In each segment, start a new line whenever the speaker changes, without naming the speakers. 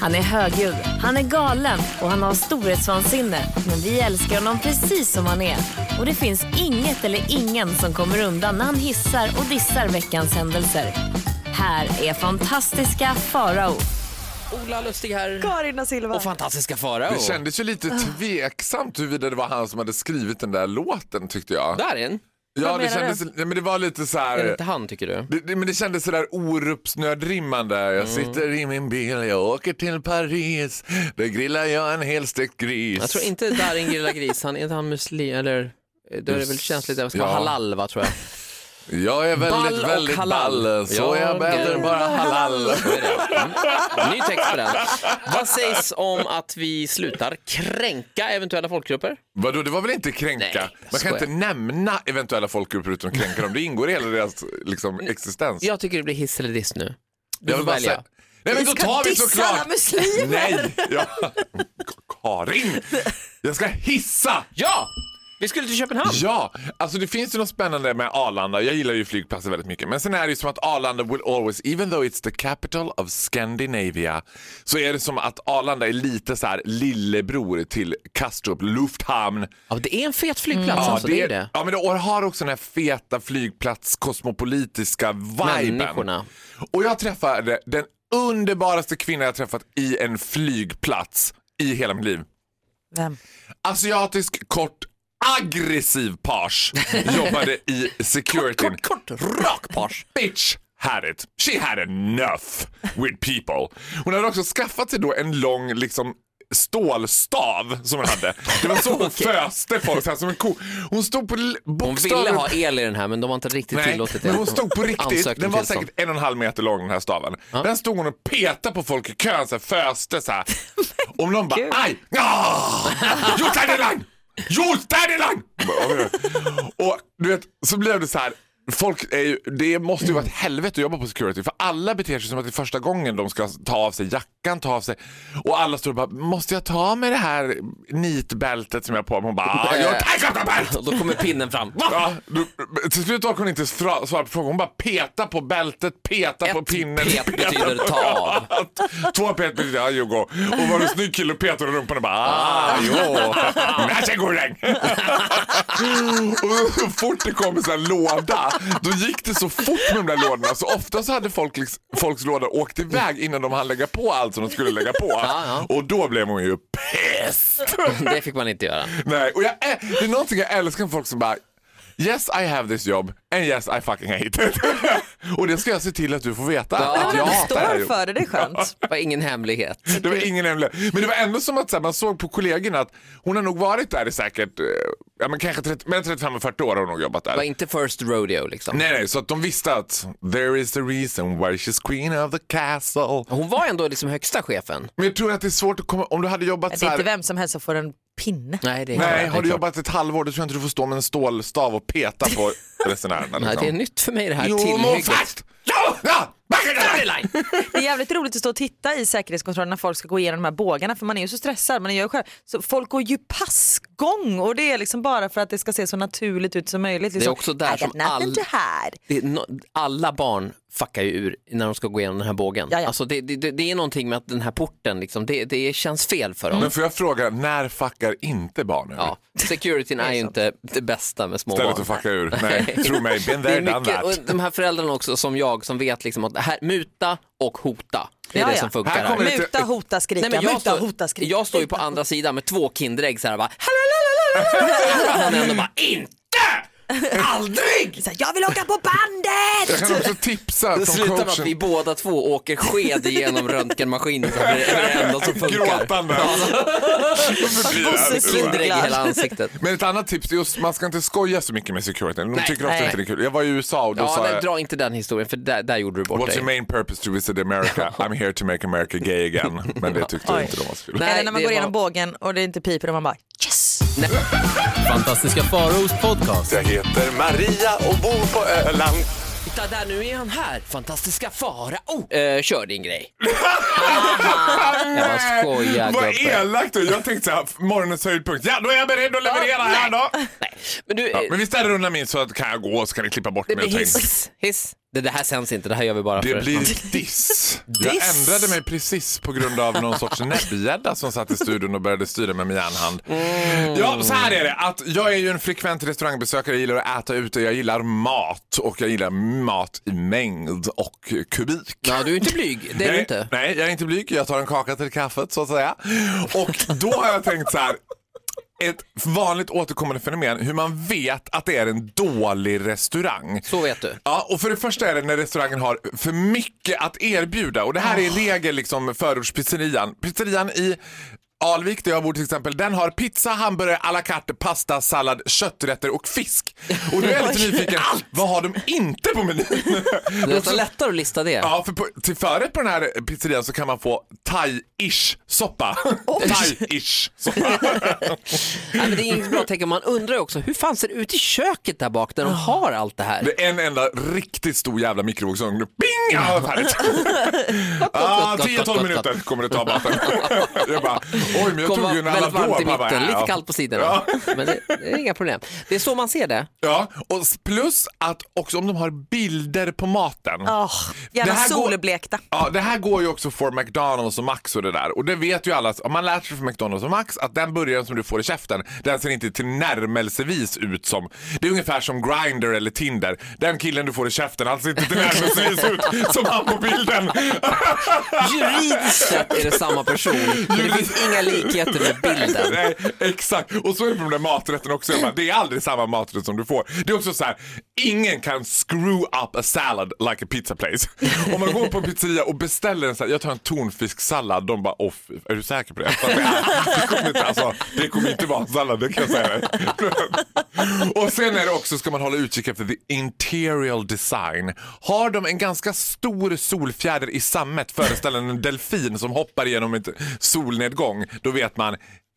Han är högljudd, han är galen och han har storhetsvansinne. Men vi älskar honom precis som han är. Och det finns inget eller ingen som kommer undan när han hissar och dissar veckans händelser. Här är fantastiska Farao.
Ola Lustig här.
Karin och Silva.
Och fantastiska Farao.
Det kändes ju
Ah.
lite tveksamt huruvida det var han som hade skrivit den där låten tyckte jag.
Där är den.
Ja,
Vad
det
menar
kändes, nej, men det var lite så
Är det
här.
inte han tycker du?
Det, det, men det kändes sådär Orupsnödrimmande. Jag
Mm.
sitter i min bil, jag åker till Paris. Där grillar jag en helstekt gris.
Jag tror inte Darin grillar gris, han är inte han muslim eller? Då är det väl känsligt, det ska vara
Ja.
halal va tror jag.
Jag är väldigt,
Ball och
väldigt
halal.
ball. Så
Ja,
jag äter
gud.
bara halal.
Så är det. Mm. Ny text på den. Vad sägs om att vi slutar kränka eventuella folkgrupper?
Vadå, det var väl inte
Nej, jag
kränka? Man kan
skojar.
inte nämna eventuella folkgrupper utan att kränka dem. Det ingår i hela deras liksom, existens.
Jag tycker det blir hiss eller diss nu. Du
Jag
får
vill bara
välja.
säga- Nej men då
ska
tar vi
dissa alla
såklart!
muslimer.
Nej! Ja. Karin! Jag ska hissa!
Ja! Vi skulle till Köpenhamn.
Ja, alltså det finns ju något spännande med Arlanda. Jag gillar ju flygplatser väldigt mycket. Men sen är det ju som att Arlanda will always, even though it's the capital of Scandinavia, så är det som att Arlanda är lite så här lillebror till Kastrup, Lufthamn.
Ja, det är en fet flygplats alltså, det är det.
Ja, men det och har också den här feta flygplats kosmopolitiska viben.
Människorna.
Och jag träffade den underbaraste kvinnan jag träffat i en flygplats i hela mitt liv.
Vem?
Asiatisk kort aggressiv page jobbade i securityn.
Kort, kort, rak pars.
Bitch had it. She had enough with people. Hon hade också skaffat sig då en lång liksom stålstav som hon hade. Det var så hon föste folk så här, som en ko. Hon stod på l-
Hon
bokstaven.
ville ha el i den här men de har inte riktigt
Nej,
tillåtit det.
men hon stod på riktigt.
Ansökte
Den
om
var
tillstånd.
säkert en och en halv meter lång den här staven. Den stod hon och petade på folk i kön, så här, föste så här. Om någon bara aj! Ah! You stand in line! You stand in line! Hon bara, "Oj, oj." Och du vet, så blev det så här. Folk är ju, det måste ju vara ett helvete att jobba på security för alla beter sig som att det är första gången de ska ta av sig jackan, ta av sig och alla står och bara “måste jag ta av mig det här nitbältet som jag har på mig?” Hon bara "Ah, “jag tar av mig bältet!”
Och då kommer pinnen fram. Va?
Ja, du, till slut orkade hon inte fra- svara på frågan. Hon bara peta på bältet, peta på
Ett
pinnen.
pet
peta
betyder
på-
ta av.
Två pet betyder ja, you go. Och var du snygg kille och petade i rumpan och bara ah, jo. Varsågoding. och så fort det kom en sån här låda, då gick det så fort med de där lådorna. Så ofta så hade folk, liks- folks lådor åkt iväg innan de hann lägga på allt som de skulle lägga på. Och då blev hon ju pissed.
Det fick man inte göra.
Nej, och jag, ä- det är någonting jag älskar med folk som bara Yes I have this job and yes I fucking hate it. och det ska jag se till att du får veta.
Ja,
att
Men
jag
du
hatar det här
står
jobbet.
för det, det är skönt.
Det var ingen hemlighet.
Det var ingen hemlighet. Men det var ändå som att så här, man såg på kollegorna att hon har nog varit där i säkert, eh, ja men kanske 30, mellan 35 och 40 år har hon nog jobbat
Det var
där.
inte first rodeo liksom.
Nej nej, så att de visste att there is the reason why she's queen of the castle.
Hon var ändå liksom högsta chefen.
Men jag tror att det är svårt att komma, om du hade jobbat
Det
så
är
här,
inte vem som helst som får en pinne.
Nej, det är
Nej,
det är
har du
klart.
jobbat ett halvår då tror jag inte du får stå med en stålstav och peta på resenärerna.
Nej,
liksom.
det är nytt för mig det här
Jo, må
tillhygget.
fast! Ja! Ja! Back in the line!
Det är jävligt roligt att stå och titta i säkerhetskontrollen när folk ska gå igenom de här bågarna för man är ju så stressad. Man gör ju själv. Så folk går ju passgång och det är liksom bara för att det ska se så naturligt ut som möjligt. Liksom,
också där
I
som
got nothing
all-
to hide.
Det är no... Alla barn fuckar ju ur när de ska gå igenom den här bågen.
Ja, ja.
Alltså, det, det, det är någonting med att den här porten, liksom, det, det känns fel för dem.
Men får jag fråga, när fuckar inte barnen
Ja, securityn är ju inte det bästa med små
Istället
barn.
att fucka ur. Nej, tro mig. Been
Det
there,
är
done
mycket, och
that.
de här föräldrarna också som jag som vet liksom att här, muta och hota. Det är
Ja,
det
ja.
som funkar
Här
här.
kommer- lite-
Muta, hota, skrika,
Nej, men jag,
muta, hota,
står,
skrika.
jag står ju på andra sidan med två Kinderägg så här bara "Halalalalala." Han är ändå bara inte! Aldrig!
Så här, jag vill åka på
Jag
bandet!
kan också tipsa
Det
som
slutar med att vi
coachen.
båda två åker sked genom röntgenmaskinen. så att Det är det enda som funkar.
Gråtande.
Bosse
Kinderägg i
Cyklar.
hela ansiktet.
Men ett annat tips, är just, man ska inte skoja så mycket med security. De
Nej.
tycker ofta
Nej.
inte det är kul. Jag var i USA och då
Ja,
sa
nej,
jag,
dra inte den historien för där, där gjorde du bort
What's your
dig.
main purpose to visit America? I'm here to make America gay again. Men det tyckte inte de var så kul.
Nej,
Eller när man
det
går igenom
var-
bågen och det inte piper och man bara yes!
Fantastiska Faraos podcast.
Jag heter Maria och bor på Öland.
Titta där, nu är han här. Fantastiska fara. Oh. Eh, kör din grej. Jag bara skojar,
Vad
gubbe.
elakt du Jag tänkte så här, morgonens höjdpunkt. Ja, då är jag beredd att leverera här då.
Nej. Men du,
Ja,
eh,
men vi ställer undan min så att kan jag gå så kan ni klippa bort
det
mig
blir
och ta in.
hiss. hiss. Det, det här sänds inte, det här gör vi bara för...
Det blir diss. Jag
Diss.
ändrade mig precis på grund av någon sorts näbbgädda som satt i studion och började styra med min järnhand.
Mm.
Ja, så här är det. Att jag är ju en frekvent restaurangbesökare. Jag gillar att äta ute. Jag gillar mat och jag gillar mat i mängd och kubik.
Ja, du är inte blyg. Det är
nej,
du inte.
Nej, jag är inte blyg. Jag tar en kaka till kaffet så att säga. Och då har jag tänkt så här. Ett vanligt återkommande fenomen hur man vet att det är en dålig restaurang.
Så vet du.
Ja, och för det första är det när restaurangen har för mycket att erbjuda. Och det här är i
Ah.
regel liksom förortspizzerian. Pizzerian i Alvik där jag bor till exempel, den har pizza, hamburgare, à la carte, pasta, sallad, kötträtter och fisk. Och då är jag lite nyfiken, vad har de inte på menyn?
Det är nästan lättare att lista det.
Ja, för på, till förrätt på den här pizzerian så kan man få thai-ish soppa. thai-ish soppa.
Nej, men det är inget bra tecken. Man undrar ju också, hur fan ser det ut i köket där bak där de har allt det här?
Det är en enda riktigt stor jävla mikrovågsugn. Bing! Ja, färdigt. ah,
gott, gott,
10-12
gott, gott,
minuter kommer det ta maten. jag bara, oj men
Kommer
jag tog
vara
ju en
väldigt varmt
Alador
i
pappa.
mitten,
Ja,
lite
ja.
kallt på sidorna.
Ja.
Men det, det är inga problem. Det är så man ser det.
Ja, och s- plus att också om de har bilder på maten.
Åh,
Det
gärna
här går-
solblekta.
Ja, det här går ju också för McDonalds och Max och det där. Och det vet ju alla, om man lär sig från McDonalds och Max att den burgaren som du får i käften, den ser inte tillnärmelsevis ut som... Det är ungefär som Grindr eller Tinder. Den killen du får i käften, han ser inte tillnärmelsevis ut som han på bilden.
Juridiskt sett är det samma person, men det finns inga likheter med bilden.
Nej, exakt. Och så är det med de där maträtterna också. Jag bara, det är aldrig samma maträtt som du får. Det är också så här, ingen kan screw up a salad like a pizza place. Om man går på en pizzeria och beställer en så här, jag tar en tonfisksallad, de bara, off, är du säker på det? Så att det, det, kommer inte, alltså, det kommer inte vara en sallad, det kan jag säga dig. Och sen är det också, ska man hålla utkik efter the interior design. Har de en ganska stor solfjäder i sammet föreställande en delfin som hoppar genom ett solnedgång, då vet man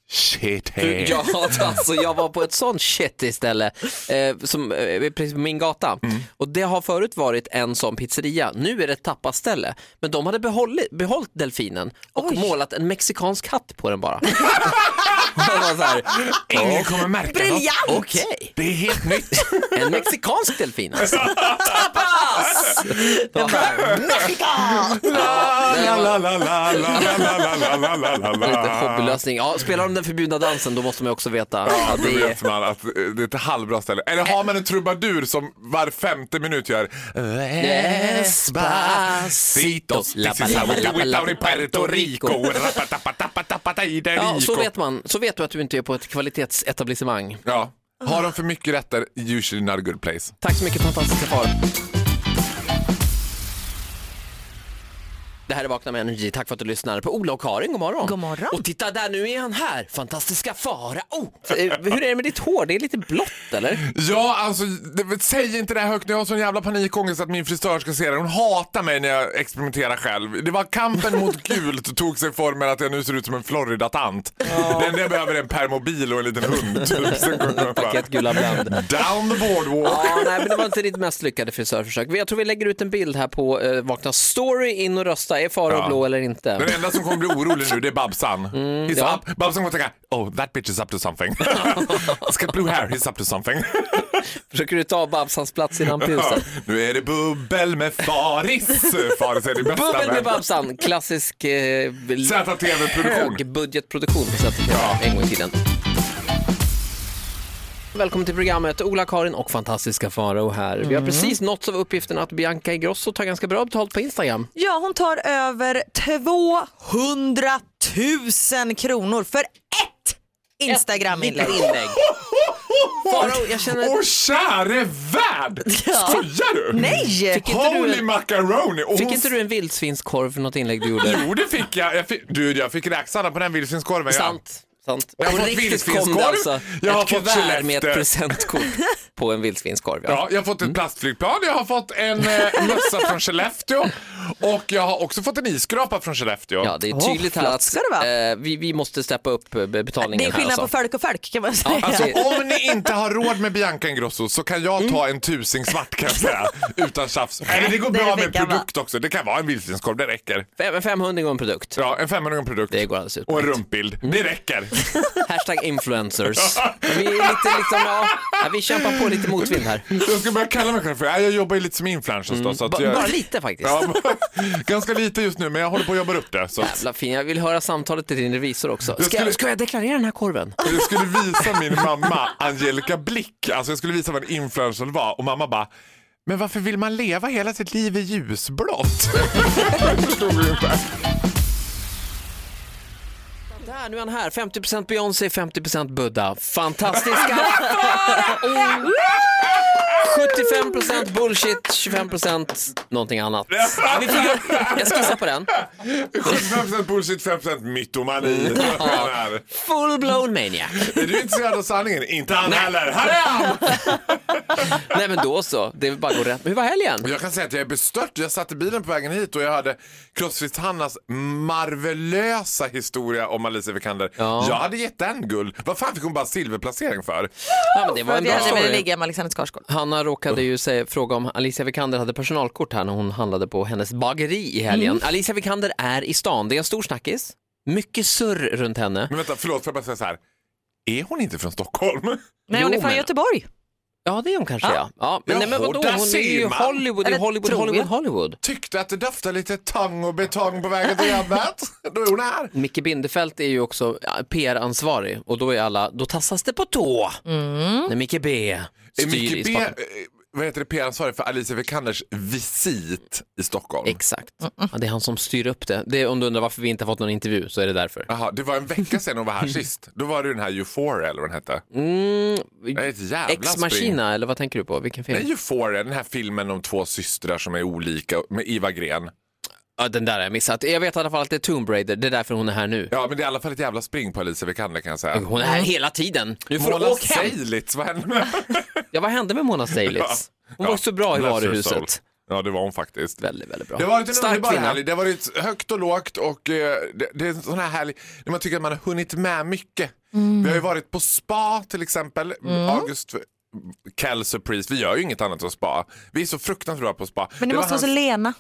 Shit
Du,
hey.
ja, alltså, jag var på ett sånt shit istället, eh, som, eh, precis på min gata. Och det har förut varit en sån pizzeria, nu är det ett tappaställe. Men de hade behållit, behållit delfinen och målat en mexikansk hatt på den bara. Jag var så här,
Ingen kommer märka
Briljant!
något.
Okej,
Det är helt nytt.
en mexikansk delfin alltså. Tapas! Det var så här,
La, la, la, la, la, la, la, la, la, la, la, la.
Lite hobbylösning. Ja, spelar de den förbjudna dansen då måste man ju också veta
Ja,
att
då
det är
vet man att eh, det är ett halvbra ställe. Eller har man en trubadur som var femte minut gör Despacito, this is how we do it down in Puerto Rico Rapatapatapatapataideriko.
Ja, så vet man. Så vet du att du inte är på ett kvalitetsetablissemang.
Ja. Har de för mycket rätter, usually not a good place.
Tack så mycket fantastiska far. Det här är Vakna med Energy. Tack för att du lyssnar på Ola och Karin. God morgon.
God morgon.
Och titta där, nu är han här. Fantastiska fara. Oh, eh, hur är det med ditt hår? Det är lite blått eller?
Ja, alltså det, säg inte det här högt. Jag har sån jävla panikångest att min frisör ska se det. Hon hatar mig när jag experimenterar själv. Det var kampen mot gult tog sig formen att jag nu ser ut som en Florida-tant. Det enda jag behöver är en permobil och en liten hund. Typ. Sen kommer jag bara,
Paket gula bland.
Down the boardwalk.
Ja, nej, men det var inte ditt mest lyckade frisörförsök. Jag tror vi lägger ut en bild här på eh, Vakna Story. In och rösta. Är Farao
Ja.
blå eller inte?
Den enda som kommer bli orolig nu det är Babsan. he's
Mm, ja.
up. Babsan kommer tänka oh that bitch is up to something. He's got blue hair, he's up to something.
Försöker du ta Babsans plats i
Ja,
rampljuset?
nu är det bubbel med Faris. Faris är din bästa
Bubbel med
vän.
Babsan, klassisk eh,
ZTV-produktion.
högbudgetproduktion på sättet ja. en gång i tiden. Välkommen till programmet Ola-Karin och fantastiska Farao här. Vi har precis nåtts av uppgiften att Bianca Ingrosso tar ganska bra betalt på Instagram.
Ja, hon tar över 200 000 kronor för ett Instagram-inlägg.
Inlägg. Farao, jag känner...
Åh käre värld! Skojar du?
Nej!
Fick inte du
Holy
en-
macaroni! Och
Fick
hon-
inte du en vildsvinskorv för något inlägg du gjorde?
Jo det fick jag. jag fick... Du jag fick räksanna på den vildsvinskorven. ja.
Sant. Sant.
Jag har
På
fått
riktigt
vildsvinskorv.
kom det Alltså,
Jag har
ett
fått
kuvert med
Skellefteå.
ett presentkort på en vildsvinskorv. Ja.
Ja, jag har fått ett plastflygplan, jag har fått en eh, mössa från Skellefteå och jag har också fått en iskrapa från Skellefteå.
Ja, det är
Åh,
tydligt här
flott
att
ska det vara.
eh, vi, vi måste steppa upp eh, betalningen
Det är
här.
skillnad på
alltså.
folk och folk kan man säga.
Alltså om ni inte har råd med Bianca Ingrosso så kan jag ta en tusing svart kan jag säga. Utan tjafs. Eller det går
Det
bra
fick
med
jag, va?
produkt också. Det kan vara en vildsvinskorv, det räcker.
Fem- 500 gånger en produkt.
Ja, en 500 produkt.
Det går alldeles
och en
utmärkt.
rumpbild. Det räcker.
Hashtag influencers. Vi är lite liksom, ja, ja, vi kämpar på lite motvind här.
Jag ska börja kalla mig själv för, ja, jag jobbar ju lite som influencers då. Så att
Ba-
jag,
bara lite faktiskt.
Ja, men- ganska lite just nu men jag håller på att jobba upp det. Så att
Jävla fin, jag vill höra samtalet till din revisor också. Ska,
skulle-
ska jag deklarera den här korven?
jag skulle visa min mamma Angelica Blick, alltså jag skulle visa vad en influencer var och mamma bara, men varför vill man leva hela sitt liv i ljusblått? Förstod vi ungefär.
Där, nu är han här. 50% Beyoncé, 50% Buddha. Fantastiska Oh. 75% bullshit, 25% någonting annat. Ja, vi får, jag skissar på den.
75% bullshit, 5% mytomani.
Mm.
Han är-
Full-blown maniac.
Är du intresserad av sanningen? Inte han heller. Här är han!
Nej men då så, det är bara att gå rätt. Hur var helgen?
Jag kan säga att jag är bestört. Jag satt i bilen på vägen hit och jag hörde Crossfit-Hannas marvelösa historia om Alicia Vikander.
Ja.
Jag hade gett den guld. Vad fan fick hon bara silverplacering för?
Ja, men det var en bra
Jag hade velat
story.
ligga med Alexander Skarsgård.
Hanna råkade ju säga, fråga om Alicia Vikander hade personalkort här när hon handlade på hennes bageri i helgen.
Mm.
Alicia Vikander är i stan, det är en stor snackis. Mycket surr runt henne.
Men vänta, förlåt, får jag bara säga så här. Är hon inte från Stockholm?
Nej, hon
Jo,
är från
men-
Göteborg.
Ja det är hon kanske ja. ja men,
Ah. Ja,
nej, men vadå,
där
hon är
ser
ju
man.
Hollywood, det är
Eller
Hollywood,
tror jag.
Hollywood, Hollywood.
Tyckte att det doftade lite tang och betong på vägen till jobbet. Då är hon här.
Micke Bindefeld är ju också ja, PR-ansvarig och då är alla, då tassas det på tå. När Micke B
Mm. Är
styr i
Micke B,
Stockholm.
eh, vad heter det, PR-ansvarig för Alicia Vikanders visit i Stockholm?
Exakt, ja, det är han som styr upp det. det. är- Om du undrar varför vi inte har fått någon intervju så är det därför.
Jaha, det var en vecka sedan hon var här sist. Då var det ju den här Euphoria eller vad den hette.
Mm,
Det är ett jävla
Ex
spring.
Machina eller vad tänker du på? Vilken film?
Nej, Euphoria, den här filmen om två systrar som är olika med Iva Gren.
Ja, den där har jag missat. Jag vet i alla fall att det är Tomb Raider, det är därför hon är här nu.
Ja, men det är i alla fall ett jävla spring på Alicia Vikander kan jag säga.
Hon är här hela tiden. Nu får du
Mona
åka hem.
Seilitz, vad hände med
Ja, vad hände med Mona Seilitz? Hon var så bra i
Bless her
varuhuset.
soul. Ja, det var hon faktiskt.
Väldigt, väldigt bra.
Det har varit en
Stark
underbar
kvinna.
helg. Det har varit högt och lågt och eh, det, det är en sån här helg när man tycker att man har hunnit med mycket.
Mm.
Vi har ju varit på spa till exempel. August Kell Surprise. Vi gör ju inget annat än spa. Vi är så fruktansvärt bra på spa.
Men det
var
måste vara så
hans-
lena.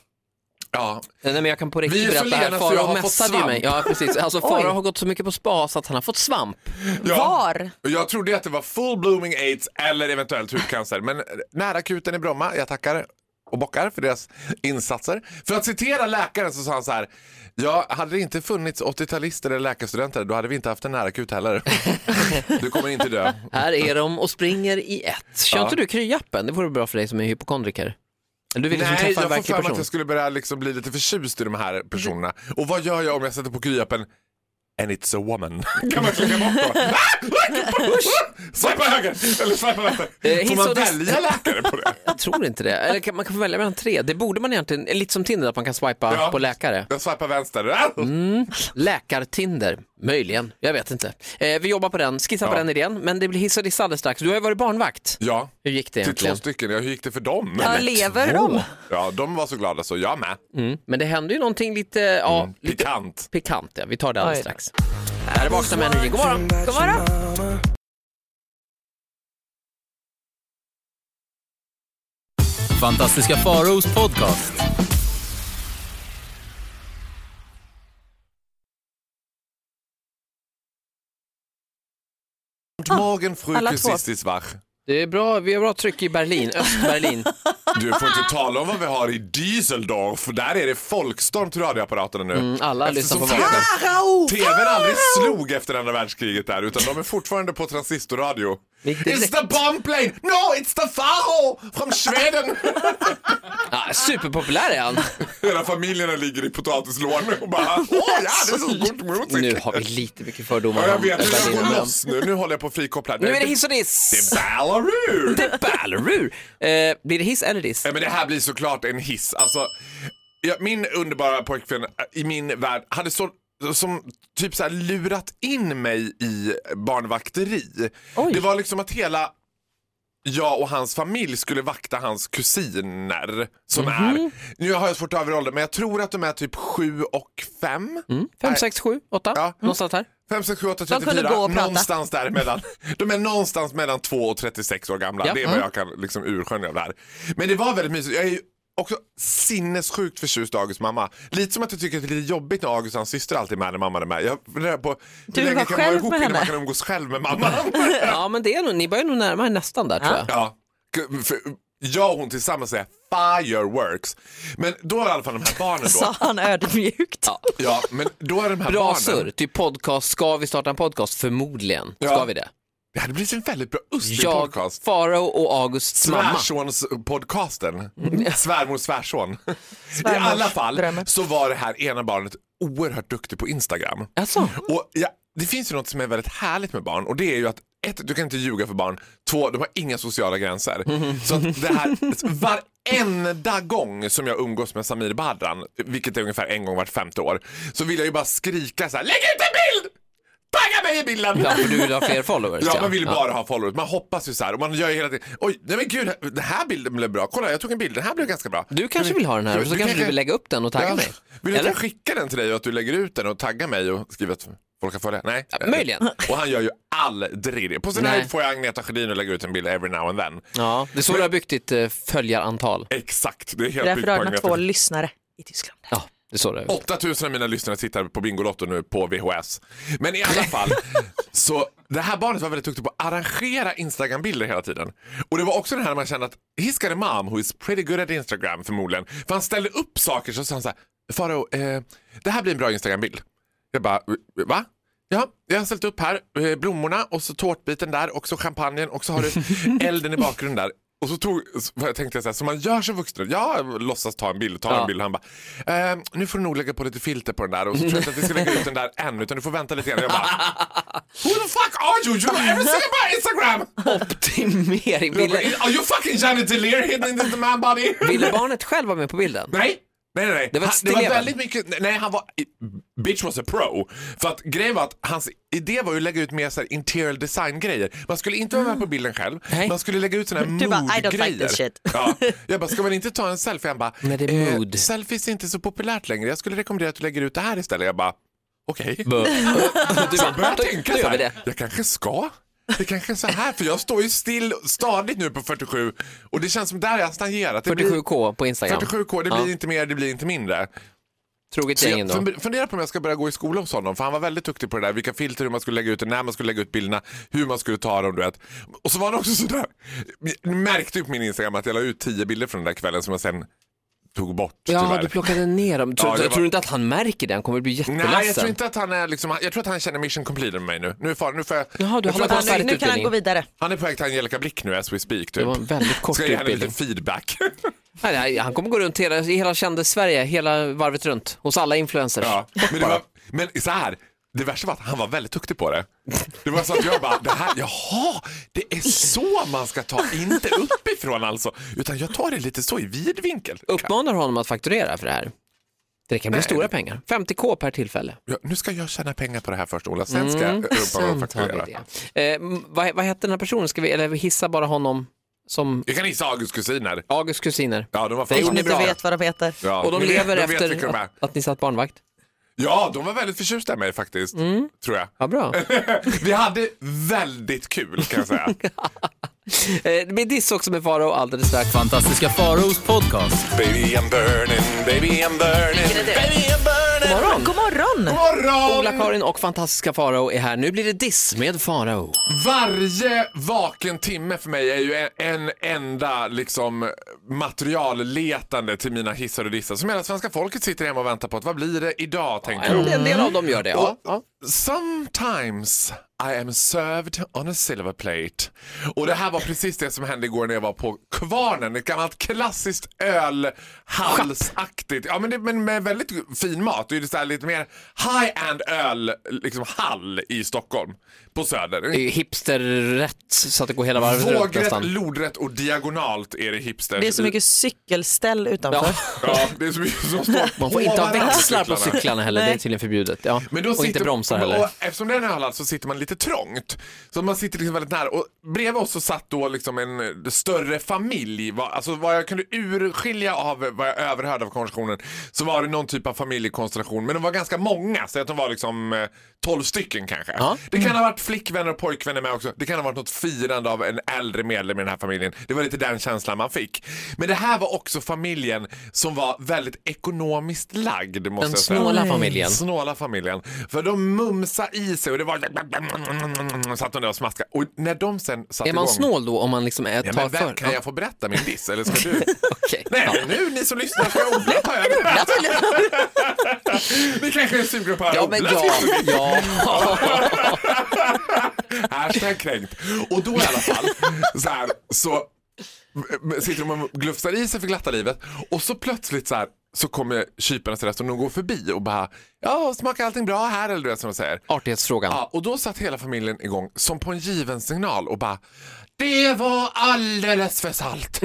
ja.
Nej men jag kan på
Vi
riktigt
är så
berätta här,
lena så jag
Farao
har fått
mässade ju
svamp.
mig. Ja precis, alltså Farao har gått så mycket på spa så att han har fått svamp.
Ja.
Var?
Och Jag trodde att det var full blooming aids eller eventuellt hudcancer. Men nära akuten i Bromma, jag tackar och bockar för deras insatser. För att citera läkaren så sa han så här. Ja, hade det inte funnits 80-talister eller läkarstudenter då hade vi inte haft en närakut heller. Du kommer inte dö.
Här är de och springer i ett. Kör
Ja.
inte du kryappen? Det vore bra för dig som är hypokondriker. Eller du vill liksom
Nej,
träffa en
jag får
verklig
för mig att
person.
jag skulle börja liksom bli lite förtjust i de här personerna. Och vad gör jag om jag sätter på kryappen And it's a woman. Kan man klicka bort då? Va? Swipa höger! Eller swipa vänster.
Eh,
Får man
hiss och diss.
välja läkare på det?
Jag tror inte det. Eller kan, man kan få välja mellan tre. Det borde man egentligen, lite som Tinder, att man kan swipa
Ja.
på läkare.
Jag swipar vänster. Ah!
Mm. Läkartinder, möjligen. Jag vet inte. Eh, vi jobbar på den, skissar på
Ja.
den idén. Men det blir hiss och diss alldeles strax. Du har ju varit barnvakt.
Ja,
Hur gick det
till två
egentligen?
stycken. Ja, hur gick det för dem?
Ja,
Men
lever
två.
de?
Ja, de var så glada så jag med.
Mm. Men det hände ju någonting lite, ja, lite
Mm. Pikant.
pikant. Ja. Vi tar det alldeles
Oj.
strax. Här är Vakna med Energy. God morgon!
God morgon.
Fantastiska Faros podcast.
Und morgen früh
alla två.
precis ist wach.
Det är bra, vi har bra tryck i Berlin, Östberlin.
Du får inte tala om vad vi har i Düsseldorf. Där är det folkstorm till radioapparaterna nu.
Mm, alla lyssnar
Eftersom
på vakna.
TVn aldrig slog efter andra världskriget där utan de är fortfarande på transistorradio.
Vilket
It's the bomb plane! No, it's the Faro from Sweden!
Ja, superpopulär är han.
Hela familjerna ligger i potatislådor och bara åh ja, det är så god musik.
Nu har vi lite mycket fördomar
Ja, jag
om
vet, nu ska
Berlin.
jag gå loss nu. Nu håller jag på att frikoppla.
Nu är det hiss och diss!
Det är Ballarur!
Det är Ballerur! Eh, blir det hiss eller diss?
Ja, men det här blir såklart en hiss. Alltså, ja, min underbara pojkvän äh, i min värld hade så, som typ så här lurat in mig i barnvakteri. Det var liksom att hela jag och hans familj skulle vakta hans kusiner som är, nu har jag svårt att överhålla men jag tror att de är typ sju och fem.
Fem, sex, sju, åtta?
Ja.
Någonstans här.
Fem, sex, sju, åtta,
De kunde
34.
gå och prata.
Någonstans däremellan. De är någonstans mellan 2 och 36 år gamla.
Ja.
Mm.
Det är vad jag kan liksom urskönja av det här. Men det var väldigt mysigt. Jag är ju också sinnessjukt förtjust i Augusts mamma. Lite som att jag tycker att det är lite jobbigt när August och hans syster alltid är med när mamman är med. Jag funderar på
Du
hur länge
var
kan man vara
själv
ihop
med
innan man
henne.
kan umgås själv med mamman?
Ja, men det är nog, ni börjar nog närma er nästan där tror jag.
Ja. G- För jag och hon tillsammans är fireworks. Men då är i alla fall de här barnen då.
Sa han ödmjukt.
Ja, men då är de här
Bra
barnen.
surr, typ podcast, ska vi starta en podcast? Förmodligen
Ja.
ska vi det.
Det hade blivit en väldigt bra ustig
Jag,
podcast.
Farao och Augusts mamma.
Svärsons-podcasten. Svärmor svärson. I
Svärmors
alla fall
drömmen.
så var det här ena barnet oerhört duktig på Instagram.
Alltså,
Och ja, det finns ju något som är väldigt härligt med barn och det är ju att ett, du kan inte ljuga för barn. Två, de har inga sociala gränser. Så att det här, varenda gång som jag umgås med Samir Badran, vilket är ungefär en gång vart femte år, så vill jag ju bara skrika så här: lägg ut en bild! Tagga mig i bilden!
ja, för du vill ha fler followers.
Ja, man vill bara ha followers. Man hoppas ju så här och man gör ju hela tiden. Oj, nej men gud, den här bilden blev bra. Kolla, jag tog en bild. Den här blev ganska bra.
Du kanske vill ha den här och så kanske du vill lägga upp den och tagga
Ja.
mig.
Vill du att
Eller?
jag skickar den till dig och att du lägger ut den och taggar mig och skriver att folk kan följa? Nej.
Möjligen.
Och han gör ju aldrig det. På sin
Nej.
höjd får jag Agneta Sjödin att lägga ut en bild every now and then.
Ja, det är så du har byggt ditt eh, följarantal.
Exakt, det är helt
Därför
byggt
har
på
han
Agneta
två
Sjödin.
lyssnare i Tyskland.
Ja, det är så det är.
8000 av mina lyssnare tittar på Bingolotto nu på VHS. Men i alla fall, så det här barnet var väldigt duktigt på att arrangera Instagram-bilder hela tiden. Och det var också det här man kände att he's got a mom who is pretty good at Instagram förmodligen. För han ställde upp saker så sa han så här, Faro, eh, det här blir en bra Instagram-bild. Jag bara, va? Ja, jag har ställt upp här eh, blommorna och så tårtbiten där och så champagnen och så har du elden i bakgrunden där. Och så tog, så jag tänkte jag så här, som man gör som vuxen, jag låtsas ta en bild, ta
Ja.
en bild och han bara, ehm, nu får du nog lägga på lite filter på den där och så tror jag inte att vi ska lägga ut den där än utan du får vänta lite grann. Jag bara, who the fuck are you? You know everything about Instagram!
Optimering.
Jag
Ville,
bara, Are you fucking Janet Delir hidden in the man body?
ville barnet själv vara med på bilden?
Nej. Nej, nej, nej.
Det var ett
han, det var
stilleben.
väldigt mycket, nej, han var, bitch was a pro. För att grejen var att hans idé var ju att lägga ut mer så här interior design grejer. Man skulle inte vara med på bilden själv,
Nej.
man skulle lägga ut såna här
Du bara, I don't like
mood-grejer.
this shit.
Ja. Jag bara, ska man inte ta en selfie? Han bara,
Nej, det är
eh,
mood.
selfies är inte så populärt längre, jag skulle rekommendera att du lägger ut det här istället. Jag bara, okej.
Du
Så jag började tänka
då
så
gör vi
här,
det.
jag kanske ska. Det kanske är så här, för jag står ju still stadigt nu på 47 och det känns som där jag har stagnerat. Det blir-
47k på Instagram.
47K, det
Ja.
blir inte mer, det blir inte mindre.
Troget
Så
gäng
jag
ändå.
fun- funderar på om jag ska börja gå i skola hos honom, för han var väldigt duktig på det där, vilka filter, hur man skulle lägga ut det, när man skulle lägga ut bilderna, hur man skulle ta dem, du vet. Och så var han också sådär, ni märkte ju på min Instagram att jag la ut tio bilder från den där kvällen som jag sen tog bort
Ja,
tyvärr.
du plockade ner dem. Tror,
Ja, det
tror
var-
du inte att han märker det? Han kommer bli jätteledsen.
Nej, jag tror inte att han är liksom, jag tror att han känner mission completed med mig nu. Nu är far, nu får jag,
Jaha, du
jag
har
tror att
lagt
han,
oss
Nu,
färdigt
nu kan han gå
utbildning.
vidare.
han är på väg till Angelica Blick nu as we speak. Typ.
Det var en väldigt kort
Ska jag ge henne lite
utbildning.
feedback.
Nej, nej, han kommer gå runt hela, i hela kände-Sverige, hela varvet runt, hos alla influencers.
Ja, men, det var, men så här, det värsta var att han var väldigt duktig på det. Det var så att jag bara, det här, jaha, det är så man ska ta, inte uppifrån alltså. Utan jag tar det lite så i vid vinkel.
Uppmanar honom att fakturera för det här. Det kan bli stora pengar. 50k per tillfälle.
Ja, nu ska jag tjäna pengar på det här först Ola, sen ska jag rumpa och
Mm, Sen tar vi
fakturera.
det. Eh, m- vad, vad hette den här personen? Ska vi, eller vi hissa bara honom som
Jag kan gissa Augusts kusiner.
Augusts kusiner?
Ja, de var
Det gjorde
Om
ni
fantastiska.
är bra.
inte vet vad de heter.
Ja,
Och de
nu vet-
lever
nu vet vilka
efter
de är.
att, att ni satt barnvakt?
Ja, de var väldigt förtjusta i mig faktiskt, tror jag.
Mm. Ja, bra.
Vi hade väldigt kul kan jag säga.
Eh, det blir diss också med Farao alldeles strax.
Fantastiska Faraos podcast.
baby I'm burning, baby I'm burning, baby I'm burning.
God morgon!
God morgon!
morgon!
Ola-Karin och fantastiska Farao är här. Nu blir det diss med Farao.
Varje vaken timme för mig är ju en, en enda liksom, materialletande till mina hissar och dissar som hela svenska folket sitter hemma och väntar på. Att, vad blir det idag? tänker
En,
de.
en del av dem gör det, ja.
Och, Sometimes I am served on a silver plate. Och det här var precis det som hände igår när jag var på Kvarnen, ett gammalt klassiskt ölhalsaktigt, ja men, det, men med väldigt fin mat. Det är ju så här lite mer high-end öl, liksom hall i Stockholm, på Söder.
Det är ju hipsterrätt så att det går hela varvet runt
Vågrätt,
nästan.
lodrätt och diagonalt är det hipsters.
Det är så mycket cykelställ utanför.
Ja, det är så mycket som står
Man får inte ha
ovanför
växlar på
cyklarna.
cyklarna heller, det är tydligen förbjudet. Ja.
Men då
och inte
sitter-
bromsar kompisar heller.
Och eftersom det är en ölhall så sitter man lite trångt. Så man sitter liksom väldigt nära. Och bredvid oss så satt då liksom en eh, större familj. Va- Alltså vad jag kunde urskilja av eh, vad jag överhörde av konversationen så var det någon typ av familjekonstellation. Men de var ganska många. Så att de var liksom eh, 12 stycken kanske.
Ja. mm.
Det kan ha varit flickvänner och pojkvänner med också. Det kan ha varit något firande av en äldre medlem i den här familjen. Det var lite den känslan man fick. Men det här var också familjen som var väldigt ekonomiskt lagd. Måste
Den
jag säga.
snåla familjen.
Snåla familjen. För de mumsa i sig och det var... Satt de där och smaskade. Och när de sen satte
Är man
igång...
snål då om man liksom är,
Ja,
tar
men
för?
vem, kan jag få berätta min diss eller ska du?
Okej.
Nej,
Ja.
men nu ni som lyssnar ska jag odla på ögonen. Ni kanske är sugen på att
Ja,
odla.
men ja, ja.
Hashtag kränkt. Och då i alla fall så, här, så m- sitter de och glufsar i sig för glatta livet och så plötsligt så här så kommer kyparna till restaurangen och går förbi och bara ja smakar allting bra här eller du vet som de säger.
Artighetsfrågan.
Ja, och då satt hela familjen igång som på en given signal och bara det var alldeles för salt.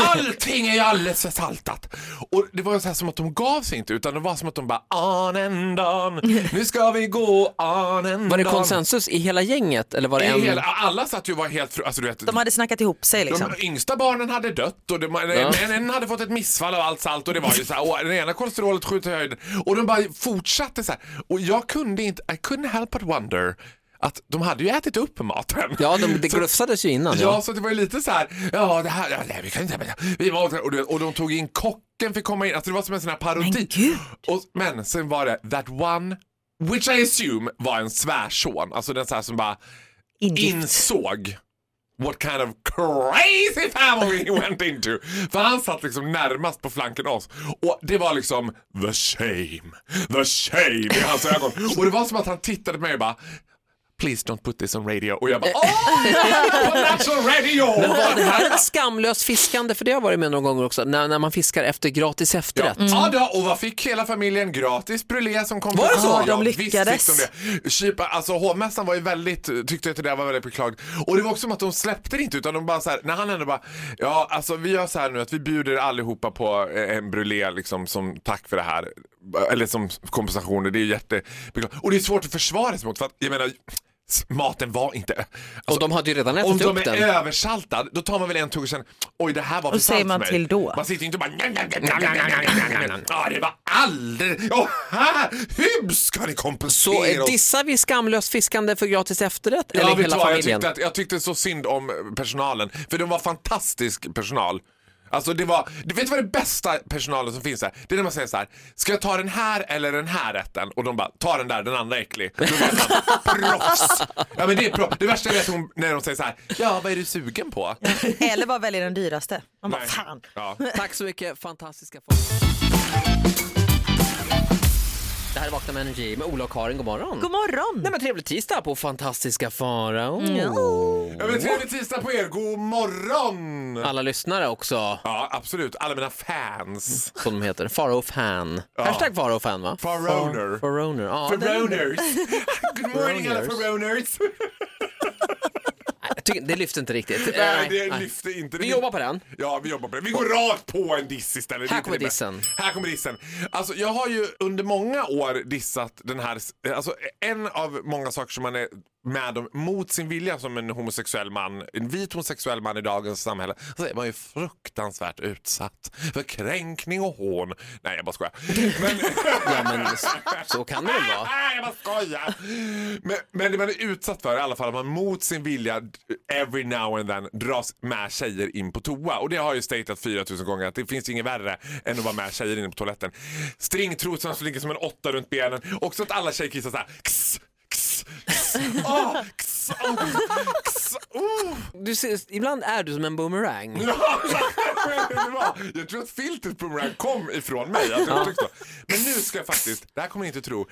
Allting är ju alldeles för saltat. Och det var ju så här som att de gav sig inte utan det var som att de bara anendan, nu ska vi gå anendan.
Var det konsensus i hela gänget eller var det en?
Hela, alla satt ju och var helt fru, alltså du vet,
De hade snackat ihop sig liksom.
de yngsta barnen hade dött och det, men en hade fått ett missfall av allt salt och det var ju så här, och det ena kolesterolet skjuter i höjden och de bara fortsatte så här. Och jag kunde inte, I couldn't help but wonder att de hade ju ätit upp maten.
Ja, de, det
Så-
glufsades ju innan.
Ja, så det var ju lite så här, ja det här, ja, nej, vi kan inte, men- vi måste, och, du vet, och de tog in kocken fick komma in, alltså det var som en sån här parodi.
Men gud.
Och, men sen var det that one, which I assume var en svärson, alltså den så här som bara
Ingift.
insåg what kind of crazy family he went into. För han satt liksom närmast på flanken av oss. Och det var liksom the shame, the shame i hans ögon. Och det var som att han tittade på mig och bara Please don't put this on radio. Och jag bara Åh, that's on radio!
Men var det här ett skamlöst fiskande? För det har jag varit med några gånger också. När, när man fiskar efter gratis efterrätt.
Ja, då, och vad fick hela familjen? Gratis brulé som kom
Var det
på-
så?
Ja,
De
visst
lyckades.
fick de det. Kypa, alltså hovmästaren var ju väldigt, tyckte att det där var väldigt beklagligt. Och det var också som att de släppte det inte utan de bara så här, när han ändå bara, ja alltså vi gör så här nu att vi bjuder allihopa på eh, en brulé liksom som tack för det här. Eller som kompensation, det är jättebeklagligt. Och det är svårt att försvara sig mot för att, jag menar, s- maten var inte... alltså,
Och de hade ju redan
mm. Om
ätit
de
upp
är
den.
översaltad, då tar man väl en tugga och känner oj det här var för
Och säger
salt
man
för mig.
till då?
Man sitter ju inte och bara ja det var alldeles, åh här, hur ska ni kompensera
Så eh,
oss?
dissar vi skamlöst fiskande för gratis efterrätt
Ja,
eller
vet du
hela
vad, jag,
familjen?
tyckte att, jag tyckte så synd om personalen, för de var fantastisk personal. Alltså det var, du vet vad det bästa personalen som finns här? Det är när man säger så här, ska jag ta den här eller den här rätten? Och de bara, ta den där, den andra är äcklig. Då vet man, proffs! Ja men det är proffs. Det värsta jag vet är hon- när de säger så här, ja vad är du sugen på?
Eller bara välja den dyraste. Man bara,
Nej.
fan.
Ja.
Tack så mycket, fantastiska folk. Det här är Vakna med Energy med Ola och Karin, god morgon.
God morgon.
Nej men trevlig tisdag på fantastiska Farao.
Ja, men trevlig tisdag på er, god morgon!
Alla lyssnare också,
Ja, absolut. Alla mina fans.
som de heter. Farao fan. Hashtag Farao fan va?
Faroner.
Faroner. Ja, det,
Faroners. Good morning alla
Faroners.
faroners.
jag tycker- det lyfter inte riktigt.
Nej, det
nej.
lyfte inte.
Vi jobbar på den.
Ja, vi jobbar på det. Vi går rakt på en diss istället.
Här
Det är inte
kommer
det
dissen.
bästa. Här kommer dissen. Alltså, jag har ju under många år dissat den här, alltså en av många saker som man är med om mot sin vilja som en homosexuell man, en vit homosexuell man i dagens samhälle, så är man ju fruktansvärt utsatt för kränkning och hån. Nej, jag bara skojar. Men...
Ja, men s- så kan det väl vara.
Ah, jag bara skojar. Men, men det man är utsatt för i alla fall att man mot sin vilja every now and then dras med tjejer in på toa. Och det har jag ju statat 4000 gånger att det finns inget värre än att vara med tjejer inne på toaletten. Stringtrosan som ligger som en åtta runt benen. Också att alla tjejer kissar så här. Kss, kss, kss. Åh, kss, åh, kss, oh.
Du ser, ibland är du som en boomerang.
Ja, det var- jag tror att filtret boomerang kom ifrån mig. Att jag tyckte. Men nu ska jag faktiskt, det här kommer ni inte tro,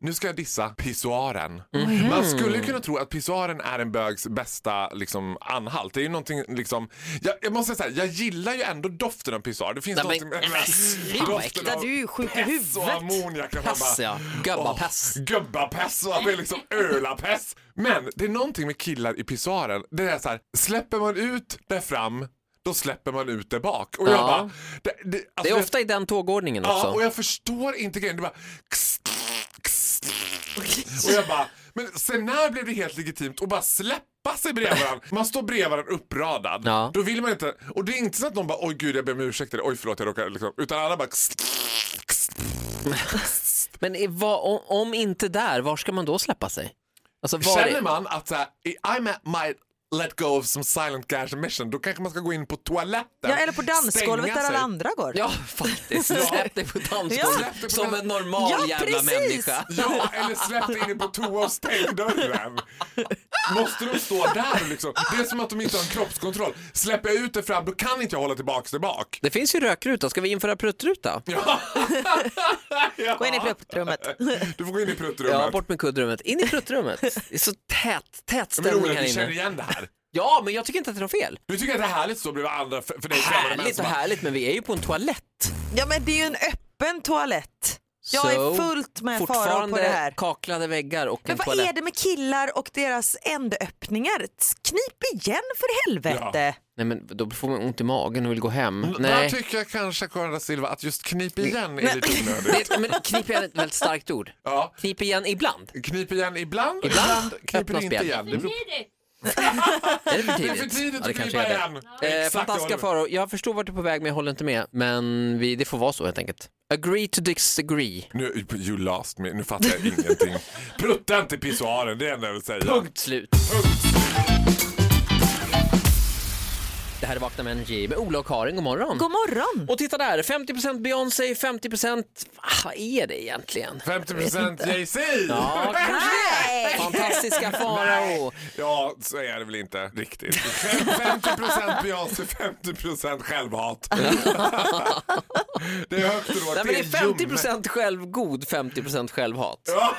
nu ska jag dissa pissoaren.
Mm.
Man skulle kunna tro att pissoaren är en bögs bästa liksom, anhalt. Det är ju någonting liksom, jag, jag måste säga så här, jag gillar ju ändå doften av pissoar. Det finns
Nej,
någonting
men- nej, men sluta, vad äckligt.
Du är ju sjuk i
pess och
huvudet.
ammoniak. att man
Pass
bara-
ja, gubbapess.
Gubbapess och att det är liksom ölapess. Men det är någonting med killar i pissoaren. Det är så här, släpper man ut där fram, då släpper man ut där bak. Och jag
Ja.
bara, det, det, alltså
Det är ofta i den tågordningen
Ja, och
också.
jag förstår inte grejen. Det är bara... kss, kss, Och jag bara, men sen när blev det helt legitimt att bara släppa sig bredvid varandra? Man står bredvid varandra uppradad.
Ja.
Då vill man inte, och det är inte så att någon bara, oj gud jag ber om ursäkt eller oj förlåt jag råkar liksom, utan alla bara,
Men i, vad- om, om inte där, var ska man då släppa sig? Alltså, var
Känner man att så här, I I might let go of some silent gas mission, då kanske man ska gå in på toaletten.
Ja, eller på dansgolvet
stänga
där alla
sig.
andra går.
Ja, faktiskt. Släpp dig på dansgolvet
Ja.
som en normal
Ja,
jävla
precis.
människa.
Ja, eller släpp dig in på toa och stäng dörren. Måste de stå där och liksom? Det är som att de inte har en kroppskontroll. Släpper jag ut det fram, då kan inte jag hålla tillbaks det bak.
Det finns ju rökruta, ska vi införa pruttruta?
Ja.
Gå in i plupprummet.
Du får gå in i pruttrummet.
Ja, bort med kuddrummet. In i pruttrummet. Det är så tät, tät
Men
ställning
Ola,
här
du känner
inne.
igen det här.
Ja, men jag tycker inte att det är fel.
Du tycker att det är härligt att stå bredvid andra för, för dig främmande män
Härligt
som
och
bara,
härligt, men vi är ju på en toalett.
Ja men det är ju en öppen toalett. Jag
So,
är fullt med faror på
Fortfarande
det här.
kaklade väggar och
Men
en
vad
toalett.
är det med killar och deras ändöppningar? Knip igen för helvete.
Nej, men då får man ont i magen och vill gå hem.
Där
Nej.
tycker jag kanske, Karin da Silva, att just knip igen är lite onödigt.
Det, men knip igen är ett väldigt starkt ord.
Ja.
Knip igen ibland.
Knip igen
Ibland.
ibland, ibland, kniper
Öppna
det inte
spjäll.
igen. Det beror
Är det för
Det
tidigt?
är för tidigt
Ja, det
att
kanske
knipa
är det.
igen.
Eh,
Exakt, jag
fantastiska
håller med.
faror. Jag förstår vart du är på väg men jag håller inte med. Men vi, det får vara så helt enkelt. Agree to disagree.
Nu, you lost me, nu fattar jag ingenting. Prutta inte i pissoaren, det är det enda jag vill säga.
Punkt slut. Det här är Vakna med Energy med Ola och Karin. God morgon.
God morgon.
och titta där, 50% Beyoncé, 50% Ah, vad är det egentligen?
50% Jay-Z!
Ja, kanske. Fantastiska Farao.
Ja, så är det väl inte riktigt. Fem- 50% Beyoncé, 50% självhat. det är högt och lågt.
Nej, men det är
ljummet.
50% självgod, 50% självhat.
Ja,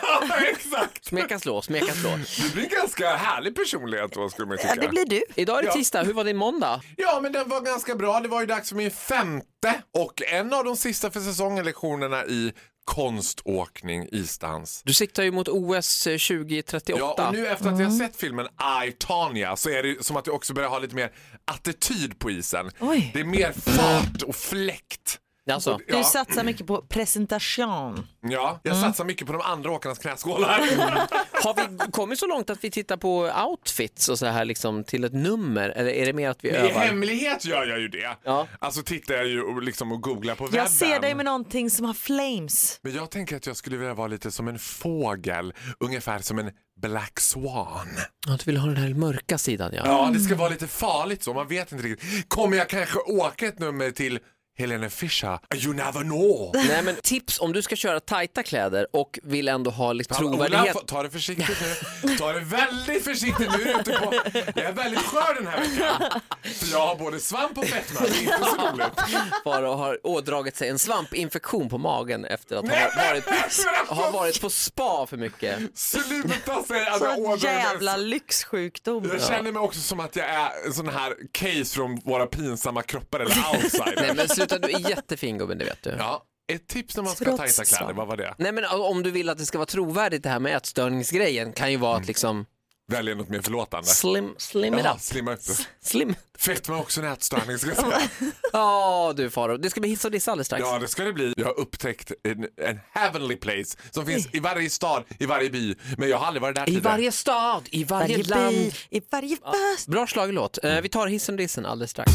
exakt.
Smeka slå, smeka slå.
Du blir en ganska härlig personlighet då, skulle man ju tycka.
Det blir du.
Idag är det
Ja.
tisdag, hur var din måndag?
Ja, men den var ganska bra. Det var ju dags för min femte och en av de sista för säsongen lektionerna i konståkning, isdans.
Du siktar ju mot eh, OS 2038.
Ja, och nu efter att jag
Mm.
har sett filmen I, Tanya så är det som att jag också börjar ha lite mer attityd på isen.
Oj.
Det är mer fart och fläkt.
Alltså,
Du Mm.
Ja,
satsar mycket på presentation.
ja, jag satsar mycket på de andra åkarnas
Mm.
knäskålar.
har vi kommit så långt att vi tittar på outfits och så här liksom till ett nummer eller är det mer att vi
I
övar?
hemlighet gör jag ju det.
Ja.
Alltså tittar jag ju och, liksom och googlar på webben.
Jag ser dig med någonting som har flames.
Men jag tänker att jag skulle vilja vara lite som en fågel, ungefär som en black swan.
Ja, du vill ha den här mörka sidan ja.
Ja, det ska vara lite farligt så, man vet inte riktigt. Kommer jag kanske åka ett nummer till Helene Fischer? You never know.
Nej men tips om du ska köra tajta kläder och vill ändå ha lite
Ola,
trovärdighet.
få- ta det försiktigt nu. Ta det väldigt försiktigt nu. är du Ute på. Jag är väldigt skör den här veckan. För jag har både svamp och fetma. Det är inte så roligt.
Bara har ådragit sig en svampinfektion på magen efter att ha varit, har varit på spa för mycket.
Sluta säga att jag
Så
ådrar mig-
jävla lyxsjukdom.
Jag känner mig också som att jag är en sån här case från våra pinsamma kroppar eller
Nej
outsiders.
men sluta, du är jättefin gubben det vet du.
Ja, ett tips när man ska
Trots
tajta kläder,
svamp.
vad var det?
Nej men om du vill att det ska vara trovärdigt det här med ätstörningsgrejen kan ju
Mm.
vara att liksom
Välja något mer förlåtande.
slim, slim it
Jaha,
up.
slimma upp det.
Slim.
Fetma är också en ätstörning ska jag säga.
Ja du Faro, det ska bli hiss och diss alldeles strax.
Ja, det ska det bli. Jag har upptäckt en, en heavenly place som finns i varje stad, i varje by. Men jag har aldrig varit där
I
tidigare.
varje stad, i varje,
varje
land.
by, i varje bös.
Bra schlagerlåt.
Mm.
Eh, Vi tar hissen och dissen alldeles strax.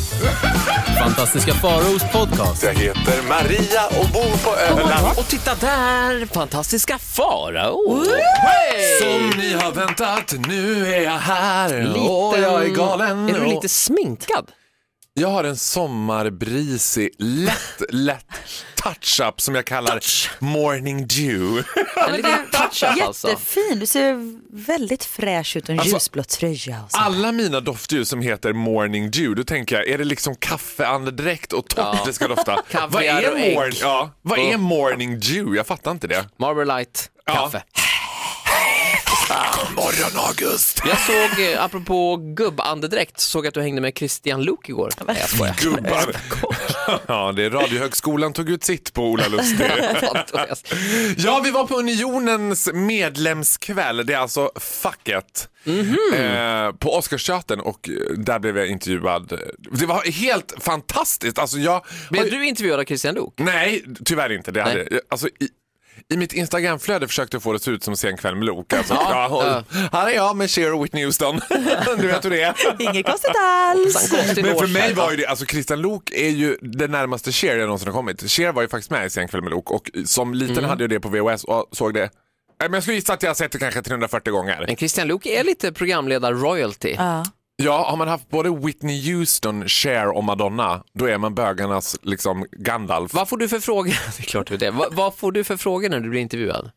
Fantastiska Faraos podcast.
Jag heter Maria och bor på Öland.
Och titta där, fantastiska Farao.
Som ni har väntat, nu är jag här och jag är galen.
Är du
och-
lite sminkad?
Jag har en sommarbrisig, lätt, lätt touch-up som jag kallar morning dew.
En liten touch-up alltså.
Jättefin, du ser väldigt fräsch ut och en
Alltså-
ljusblå tröja. och så.
Alla mina doftljus som heter morning dew, då tänker jag, är det liksom kaffeandedräkt och torrt det ska dofta? vad
Kaviar
är,
och ägg.
morn- ja, vad är morning dew? Jag fattar inte det.
Marble light,
Ja.
kaffe.
Morgon August!
Jag såg, eh, apropå gubbandedräkt, såg att du hängde med Christian Luuk igår. Nej, jag skojar.
Gubbar. ja, det är Radiohögskolan tog ut sitt på Ola Lustig.
Fantastiskt.
Ja, vi var på Unionens medlemskväll. Det är alltså facket eh, på Oscarsteatern och eh, där blev jag intervjuad. Det var helt fantastiskt. Alltså, jag,
Blev du intervjuad av Christian Luuk?
Nej, tyvärr inte. Det hade, alltså, i, i mitt Instagramflöde försökte jag få det att se ut som Sen kväll med Lok. Alltså.
Ja,
Ja, och- Här är jag med Cher och Whitney Houston. du vet hur det är.
Inget konstigt alls.
Men för mig var ju det, alltså Christian Lok är ju den närmaste Cher jag någonsin har kommit. Cher var ju faktiskt med i Sen kväll med Lok och som liten
Mm.
hade jag det på VHS och såg det. Nej, Men jag skulle gissa att jag har sett det kanske 340 gånger.
Men Christian Luuk är lite programledar-royalty.
Ja, har man haft både Whitney Houston, Cher och Madonna, då är man bögarnas liksom Gandalf.
Vad får du för frågor? Det är klart du är det. Vad, vad får du för frågor när du blir intervjuad?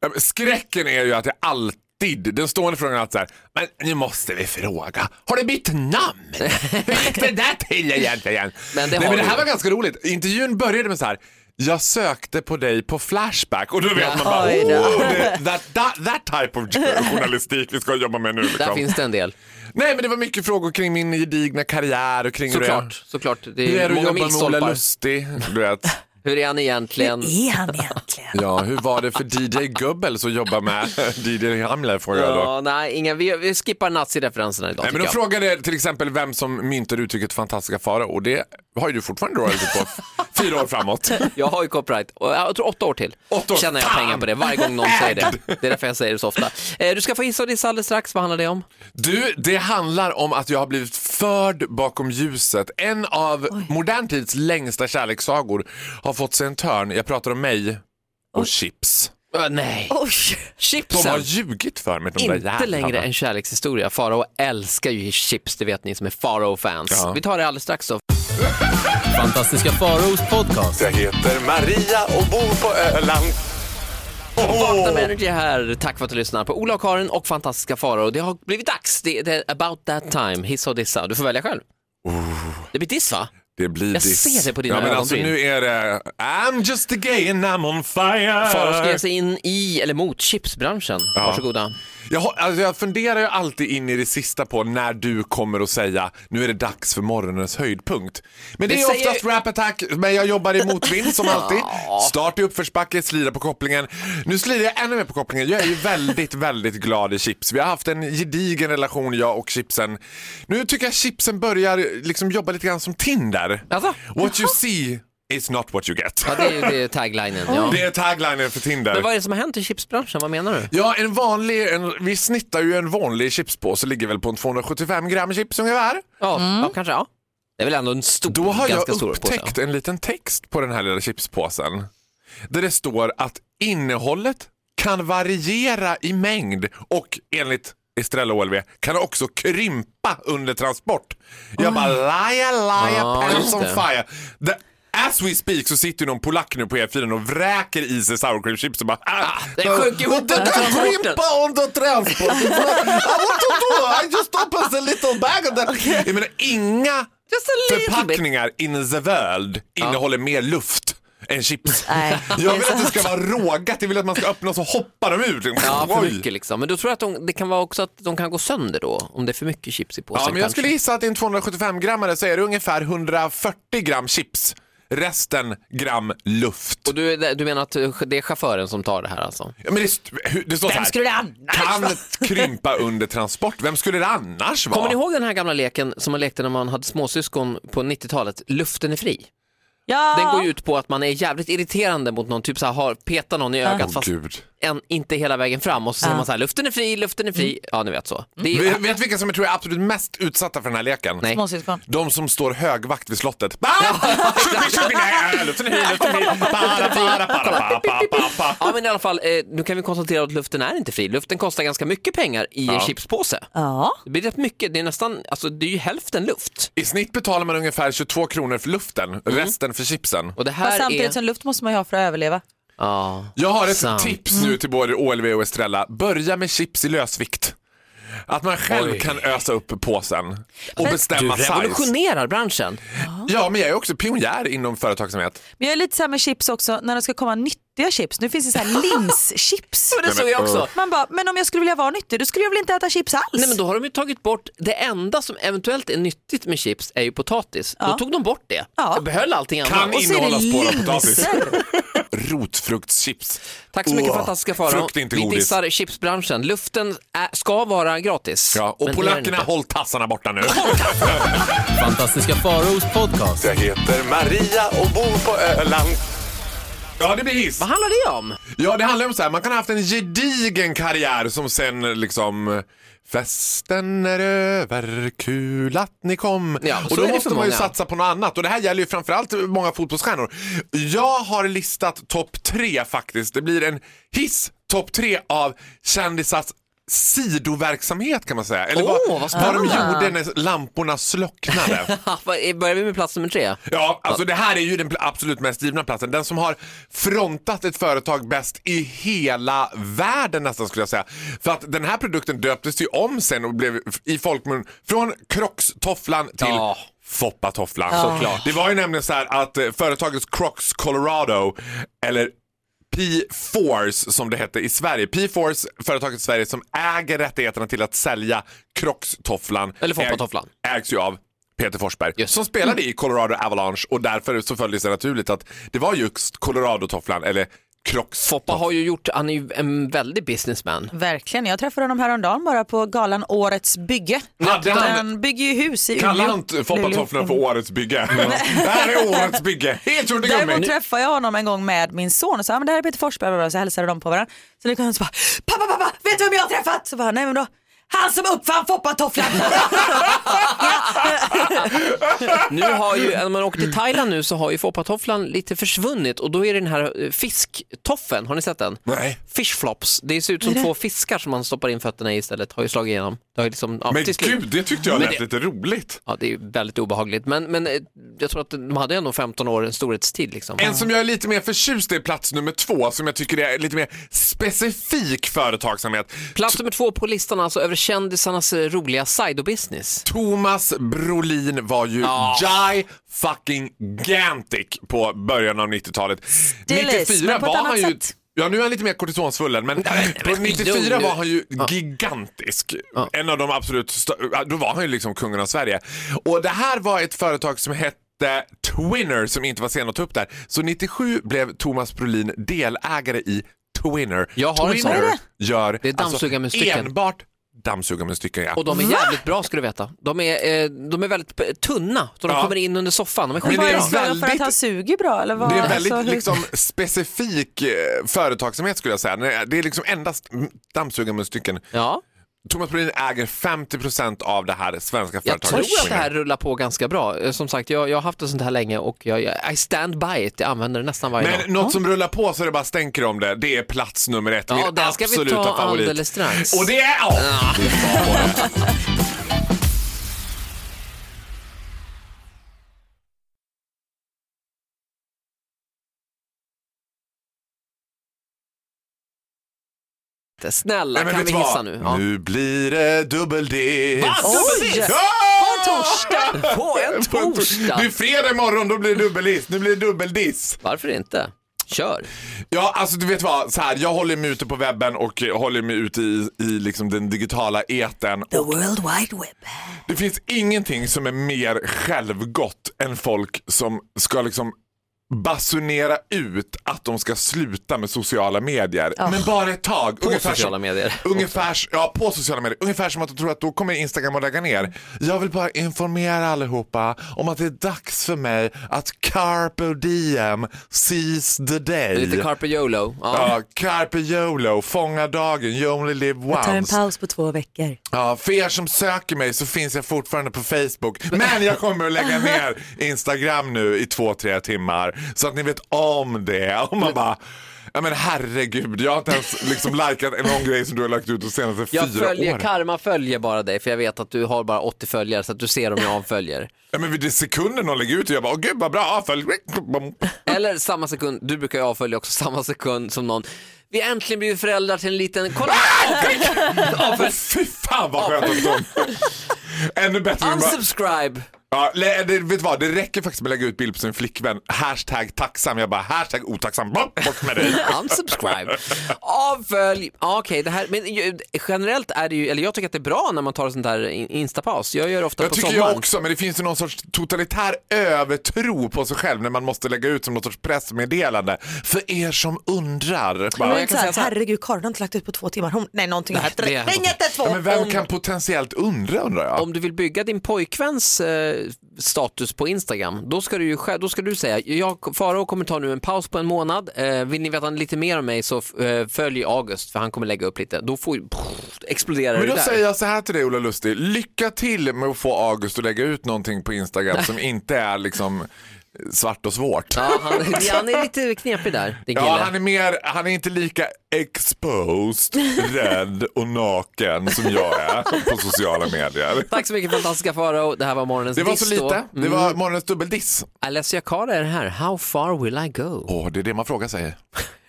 Ja, men Skräcken är ju att jag alltid, den stående frågan är alltid så här, men nu måste vi fråga, har du bytt namn? Hur gick det där till egentligen?
Men det
Nej,
har
men det
du
här
ju.
var ganska roligt. Intervjun började med så här, jag sökte på dig på Flashback och då vet man bara,
Oj då.
oh, det, that, that, that type of journalistik vi ska jobba med nu.
Där
Liksom.
finns det en del.
Nej men det var mycket frågor kring min gedigna karriär och kring hur jag-
Såklart, såklart. Det
Hur
är,
är det att
många
jobba med Ola
milstolpar.
Lustig? Du vet.
Hur är han egentligen?
Är han egentligen?
Ja, hur var det för DJ Gubbels att jobba med DJ Hamler frågar jag då.
Ja, nej, inga, vi, vi skippar nazireferenserna idag
Nej, men
tycker
de
jag.
frågade till exempel vem som myntade uttrycket fantastiska fara och det har ju du fortfarande royalty på f- fyra år framåt.
Jag har ju copyright, och jag tror åtta år till.
Åtta år,
Tjänar jag
fan!
pengar på det varje gång någon säger det. Det är därför jag säger det så ofta. Eh, du ska få hissa och dissa alldeles strax, vad handlar det om?
Du, det handlar om att jag har blivit förd bakom ljuset. En av modern tids längsta kärlekssagor har fått sig en törn. Jag pratar om mig och Chips.
Eh, nej.
Oj,
Äh, De har
Chipsen!
ljugit för mig. De där
Inte
jävlarna.
längre en kärlekshistoria. Farao älskar ju chips, det vet ni som är Farao-fans.
Ja.
Vi tar det alldeles strax då.
Fantastiska Faraos podcast.
Jag heter Maria och bor på Öland.
Vakna med Energy här. Tack för att du lyssnar på Ola och Karin och fantastiska Farao. Det har blivit dags. Det, det är about that time. Hissa och dissa. Du får välja själv.
Oh.
Det blir diss va?
Det blir
Jag
diss.
ser det på dina
ja, men
ögonbryn.
alltså, Nu är det I'm just a gay and I'm on
Farao ska ge
fire.
sig in i, eller mot, chipsbranschen.
Ja.
Varsågoda.
Jag, har- alltså, jag funderar ju alltid in i det sista på när du kommer att säga nu är det dags för morgonens höjdpunkt. Men det,
Det
är
säger-
oftast rap attack, men jag jobbar i motvind som alltid. Start i uppförsbacke, slira på kopplingen. Nu slirar jag ännu mer på kopplingen. Jag är ju väldigt, väldigt glad i chips. Vi har haft en gedigen relation jag och chipsen. Nu tycker jag chipsen börjar liksom jobba lite grann som Tinder.
Alltså?
What you see is not what you get.
Ja, det är ju det är taglinen. Ja.
Det är taglinen för Tinder.
Men vad är det som har hänt i chipsbranschen? Vad menar du?
Ja, en vanlig, en, vi snittar ju en vanlig chipspåse, ligger väl på en 275 gram chips ungefär.
Ja, ja kanske ja. Det är väl ändå en stor,
Då har jag
ganska stor påse.
upptäckt en liten text på den här lilla chipspåsen. Där det står att innehållet kan variera i mängd och enligt Estrella OLV kan också krympa under transport. Jag bara laja, laja,
Ja,
pants
Ah. just
on
det.
fire. The, as we speak så sitter ju någon polack nu på E4 och vräker i sig sour cream chips och bara ah,
det sjönk ihop
Det
under
kan
transporten."
krympa under transporten. I want to do, I just opened a little bag of that. Jag menar inga
Just a little bit.
förpackningar in the world innehåller mer luft än chips.
Nej,
jag vill att det ska vara rågat, jag vill att man ska öppna och så hoppar de ut.
Ja, för
Oj.
mycket liksom. Men då tror jag att de, det kan vara också att de kan gå sönder då, om det är för mycket chips i påsen.
Ja, men jag
kanske.
skulle gissa att i en 275-grammare så är det ungefär 140 gram chips, resten gram luft.
Och du, är- du menar att eh, det är chauffören som tar det här alltså?
Ja, Men det, st- hur- det står så här.
skulle det annars
Kan krympa under transport. Vem skulle det annars vara?
Kommer ni ihåg den här gamla leken som man lekte när man hade småsyskon på 90-talet? Luften är fri.
Ja.
Den går ju ut på att man är jävligt irriterande mot någon, typ så här, har, petar någon i ögat
Åh,
fast
Gud.
en, inte hela vägen fram och så säger man så här, luften är fri, luften är fri.
Mm.
Ja, ni vet så. Det är,
Vet, vet vilka som jag tror är absolut mest utsatta för den här leken?
Nej.
Småsyskon.
De som står högvakt vid slottet. Ah! Tjupi, tjupi, nej, Luften är fri, luften är fri. Para, para, para, pa, pa, pa, pa.
Ja men i alla fall, eh, nu kan vi konstatera att luften är inte fri. Luften kostar ganska mycket pengar i en chipspåse.
Ja.
Det blir rätt mycket, det är nästan, alltså det är ju hälften luft.
I snitt betalar man ungefär 22 kronor för luften, resten för chipsen.
Och det
Fast
här
samtidigt
är...
som luft måste man ju ha för att överleva.
Ja.
Jag har ett
Sant.
tips nu till både OLV och Estrella. Börja med chips i lösvikt. Att man själv
Oj.
kan ösa upp påsen och
Du
bestämma size.
revolutionerar branschen.
Ja, men jag är också pionjär inom företagsamhet.
Men jag är lite så här med chips också, när det ska komma nyttiga chips. Nu finns det så här linschips.
Det såg jag också.
Man bara, men om jag skulle vilja vara nyttig då skulle jag väl inte äta chips alls?
Nej men då har de ju tagit bort, det enda som eventuellt är nyttigt med chips är ju potatis. Då tog de bort det.
Ja.
Jag behöll allting annat.
Kan
Och så är det
innehålla spår av potatis.
linser.
Rotfruktschips.
Tack så mycket
Åh,
fantastiska Farao.
Frukt är
Vi
inte godis.
dissar chipsbranschen. Luften är, ska vara gratis.
Ja,
Men
och
det är den
polackerna,
inte.
håll tassarna borta nu.
Fantastiska Faraos podcast.
Jag heter Maria och bor på Öland. Ja, det blir hiss.
Vad handlar det om?
Ja, det handlar om så här, man kan ha haft en gedigen karriär som sen liksom Festen är över, kul att ni kom.
Ja, så
och då
är det
måste
för
man ju
många.
satsa på något annat. Och det här gäller ju framförallt många fotbollsstjärnor. Jag har listat topp tre faktiskt. Det blir en hiss topp tre av kändisars sidoverksamhet kan man säga. Eller
Åh,
vad,
vad
vad de
spännande.
gjorde när lamporna slocknade.
Ha, vad- eh, Börjar vi med plats nummer tre?
Ja, alltså det här är ju den pl- absolut mest givna platsen. Den som har frontat ett företag bäst i hela världen nästan skulle jag säga. För att den här produkten döptes ju om sen och blev f- i folkmun från Crocs-tofflan till
Ja.
Foppatofflan.
Såklart.
Det var ju nämligen så här att eh, företaget Crocs Colorado, eller P-Force som det hette i Sverige. P-Force, företaget i Sverige som äger rättigheterna till att sälja Crocs-tofflan.
Eller Foppatofflan.
äg- Ägs ju av Peter Forsberg
Just.
som spelade i Colorado Avalanche och därför så följde det sig naturligt att det var just Colorado-tofflan eller Crocs.
Foppa har ju gjort, han är ju en väldig businessman.
Verkligen, jag träffade honom häromdagen bara på galan Årets bygge.
Hade han-
Den bygger ju hus i
Kallar
Umeå.
inte Foppatofflan för
Luleå.
årets bygge. det här är årets bygge. Helt gjort i
Däremot
gummi.
träffade jag honom en gång med min son och sa "Ja, men det här är Peter Forsberg bla, bla, bla." så hälsade de på varandra. Så nu kom han och så bara pappa pappa vet du vem jag har träffat? Så bara nej men då han som uppfann foppatofflan.
Nu har ju, när man åker till Thailand nu så har ju foppatofflan lite försvunnit och då är det den här eh, fisktoffeln, har ni sett den?
Nej.
Fish flops, det ser ut som två fiskar som man stoppar in fötterna i istället, har ju slagit igenom. Det har ju liksom, ja,
Men
till slut.
gud, det tyckte jag
Men
lät
det-
lite roligt.
Ja, det är ju väldigt obehagligt, men, men eh, jag tror att de hade ändå 15 år en storhetstid liksom.
En som jag är lite mer förtjust i är plats nummer två, som jag tycker är lite mer specifik företagsamhet.
Plats nummer två på listan alltså över kändisarnas eh, roliga side-business.
Thomas Brolin var ju
Ja.
Jai fucking Gantic på början av 90-talet.
Still is, men på ett annat
ju...
sätt.
Ja, nu är han lite mer kortisonsvullen, men på
men
94
lugn nu.
var han ju gigantisk. En av de absolut stö- ja, Då var han ju liksom kungen av Sverige. Och det här var ett företag som hette Twinner som inte var sen att ta upp där. Så 97 blev Thomas Brolin delägare i Twinner.
Jag har en sån.
Twinner
Vad är
gör alltså
Det är dammsugarmunstycken.
enbart dammsugarmunstycken. Ja.
Och de är jävligt bra ska du veta. De är, eh, de är väldigt p- tunna, så de
Ja.
kommer in under soffan. De är
Men
Vad är
skitbra.
det väldigt... för att
väldigt-
han suger bra eller vad?
Det är en väldigt
Alltså, hur-
liksom, specifik eh, företagsamhet skulle jag säga. Nej, Det är liksom endast mm, dammsugarmunstycken.
Ja,
Thomas Brolin äger 50% av det här svenska
jag
företaget.
tror att det här rullar på ganska bra. Eh, Som sagt, jag, jag har haft det sånt här länge och jag, jag, I stand by it. Jag använder det nästan varje dag.
Men något som rullar på så det bara stänker om det, det är plats nummer ett.
Ja,
min
den ska vi
absoluta
ta
favorit.
alldeles strax.
Och det är... ja, det är bra på det.
Snälla,
Nej, men
kan
vet
vi
du vad?
hissa nu? Ja.
Nu blir det dubbel-diss.
Oj!
Ja!
På en torsdag!
Det är fredag imorgon, då blir det dubbeldiss. Nu blir det dubbeldiss.
Varför inte? Kör!
Ja, alltså du vet vad, så här, jag håller mig ute på webben och eh, håller mig ute i, i liksom den digitala eten.
The World Wide Web.
Det finns ingenting som är mer självgott än folk som ska liksom basunera ut att de ska sluta med sociala medier. Men bara ett tag.
På
ungefär som-
sociala medier.
Ungefär, ja, på sociala medier. Ungefär som att du tror att då kommer Instagram att lägga ner. Jag vill bara informera allihopa om att det är dags för mig att carpe diem seize the day.
Lite Carpe YOLO. Ja.
Ja, carpe YOLO, fånga dagen, you only live
Tar en
once.
paus på två veckor.
Ja, för er som söker mig så finns jag fortfarande på Facebook. Men jag kommer att lägga ner Instagram nu i två, tre timmar. Så att ni vet om det. Och man bara, ja men herregud, jag har inte ens liksom likat någon grej som du har lagt ut de senaste
Jag
fyra
följer,
åren.
karma följer bara dig för jag vet att du har bara 80 följare så att du ser om jag avföljer.
Ja, men vid det sekunden någon lägger ut och jag bara, åh gud vad bra, följ.
Eller samma sekund, du brukar ju avfölja också samma sekund som någon, vi har äntligen blivit föräldrar till en liten, kolla!
Åh, Fy fan vad skönt att de... Ännu bättre än bara-
Unsubscribe!
Ja, le- eh, det, vet du vad, det räcker faktiskt med att lägga ut bild på sin flickvän. Hashtag tacksam. Jag bara hashtag otacksam. Bort, bort med dig.
Unsubscribe! Avfölj! Ja, Okej, det här, men ju- generellt är det ju, eller jag tycker att det är bra när man tar en sån där in- instapaus. Jag gör det ofta
Jag
på
tycker
sommaren.
jag också, men det finns ju någon sorts totalitär övertro på sig själv när man måste lägga ut som någon sorts pressmeddelande. För er som undrar. Bara,
Men
ja,
jag kan säga så här.
Herregud, Karin har inte lagt ut på två timmar. Hon, nej, någonting har hänt.
det-
Ring 112!
men vem kan potentiellt undra undrar jag?
Om du vill bygga din pojkväns eh, status på Instagram, då ska du, ju, själv- då ska du säga, jag, Faro kommer ta nu en paus på en månad, eh, vill ni veta lite mer om mig så f- eh, följ August för han kommer lägga upp lite. Då får, ju- pff, exploderar
Men
det
då
där.
säger jag så här till dig Ola Lustig, lycka till med att få August att lägga ut någonting på Instagram som inte är liksom svart och svårt.
Ja, han, han är lite knepig där, din kille.
Ja, han är, mer, han är inte lika exposed, rädd och naken som jag är på sociala medier.
Tack så mycket fantastiska Farao, det här var morgonens
Det var
diss
så
då.
lite. Det
Mm.
var morgonens dubbeldiss.
Alessia Cara är här, How far will I go?
Åh, det är det man frågar sig.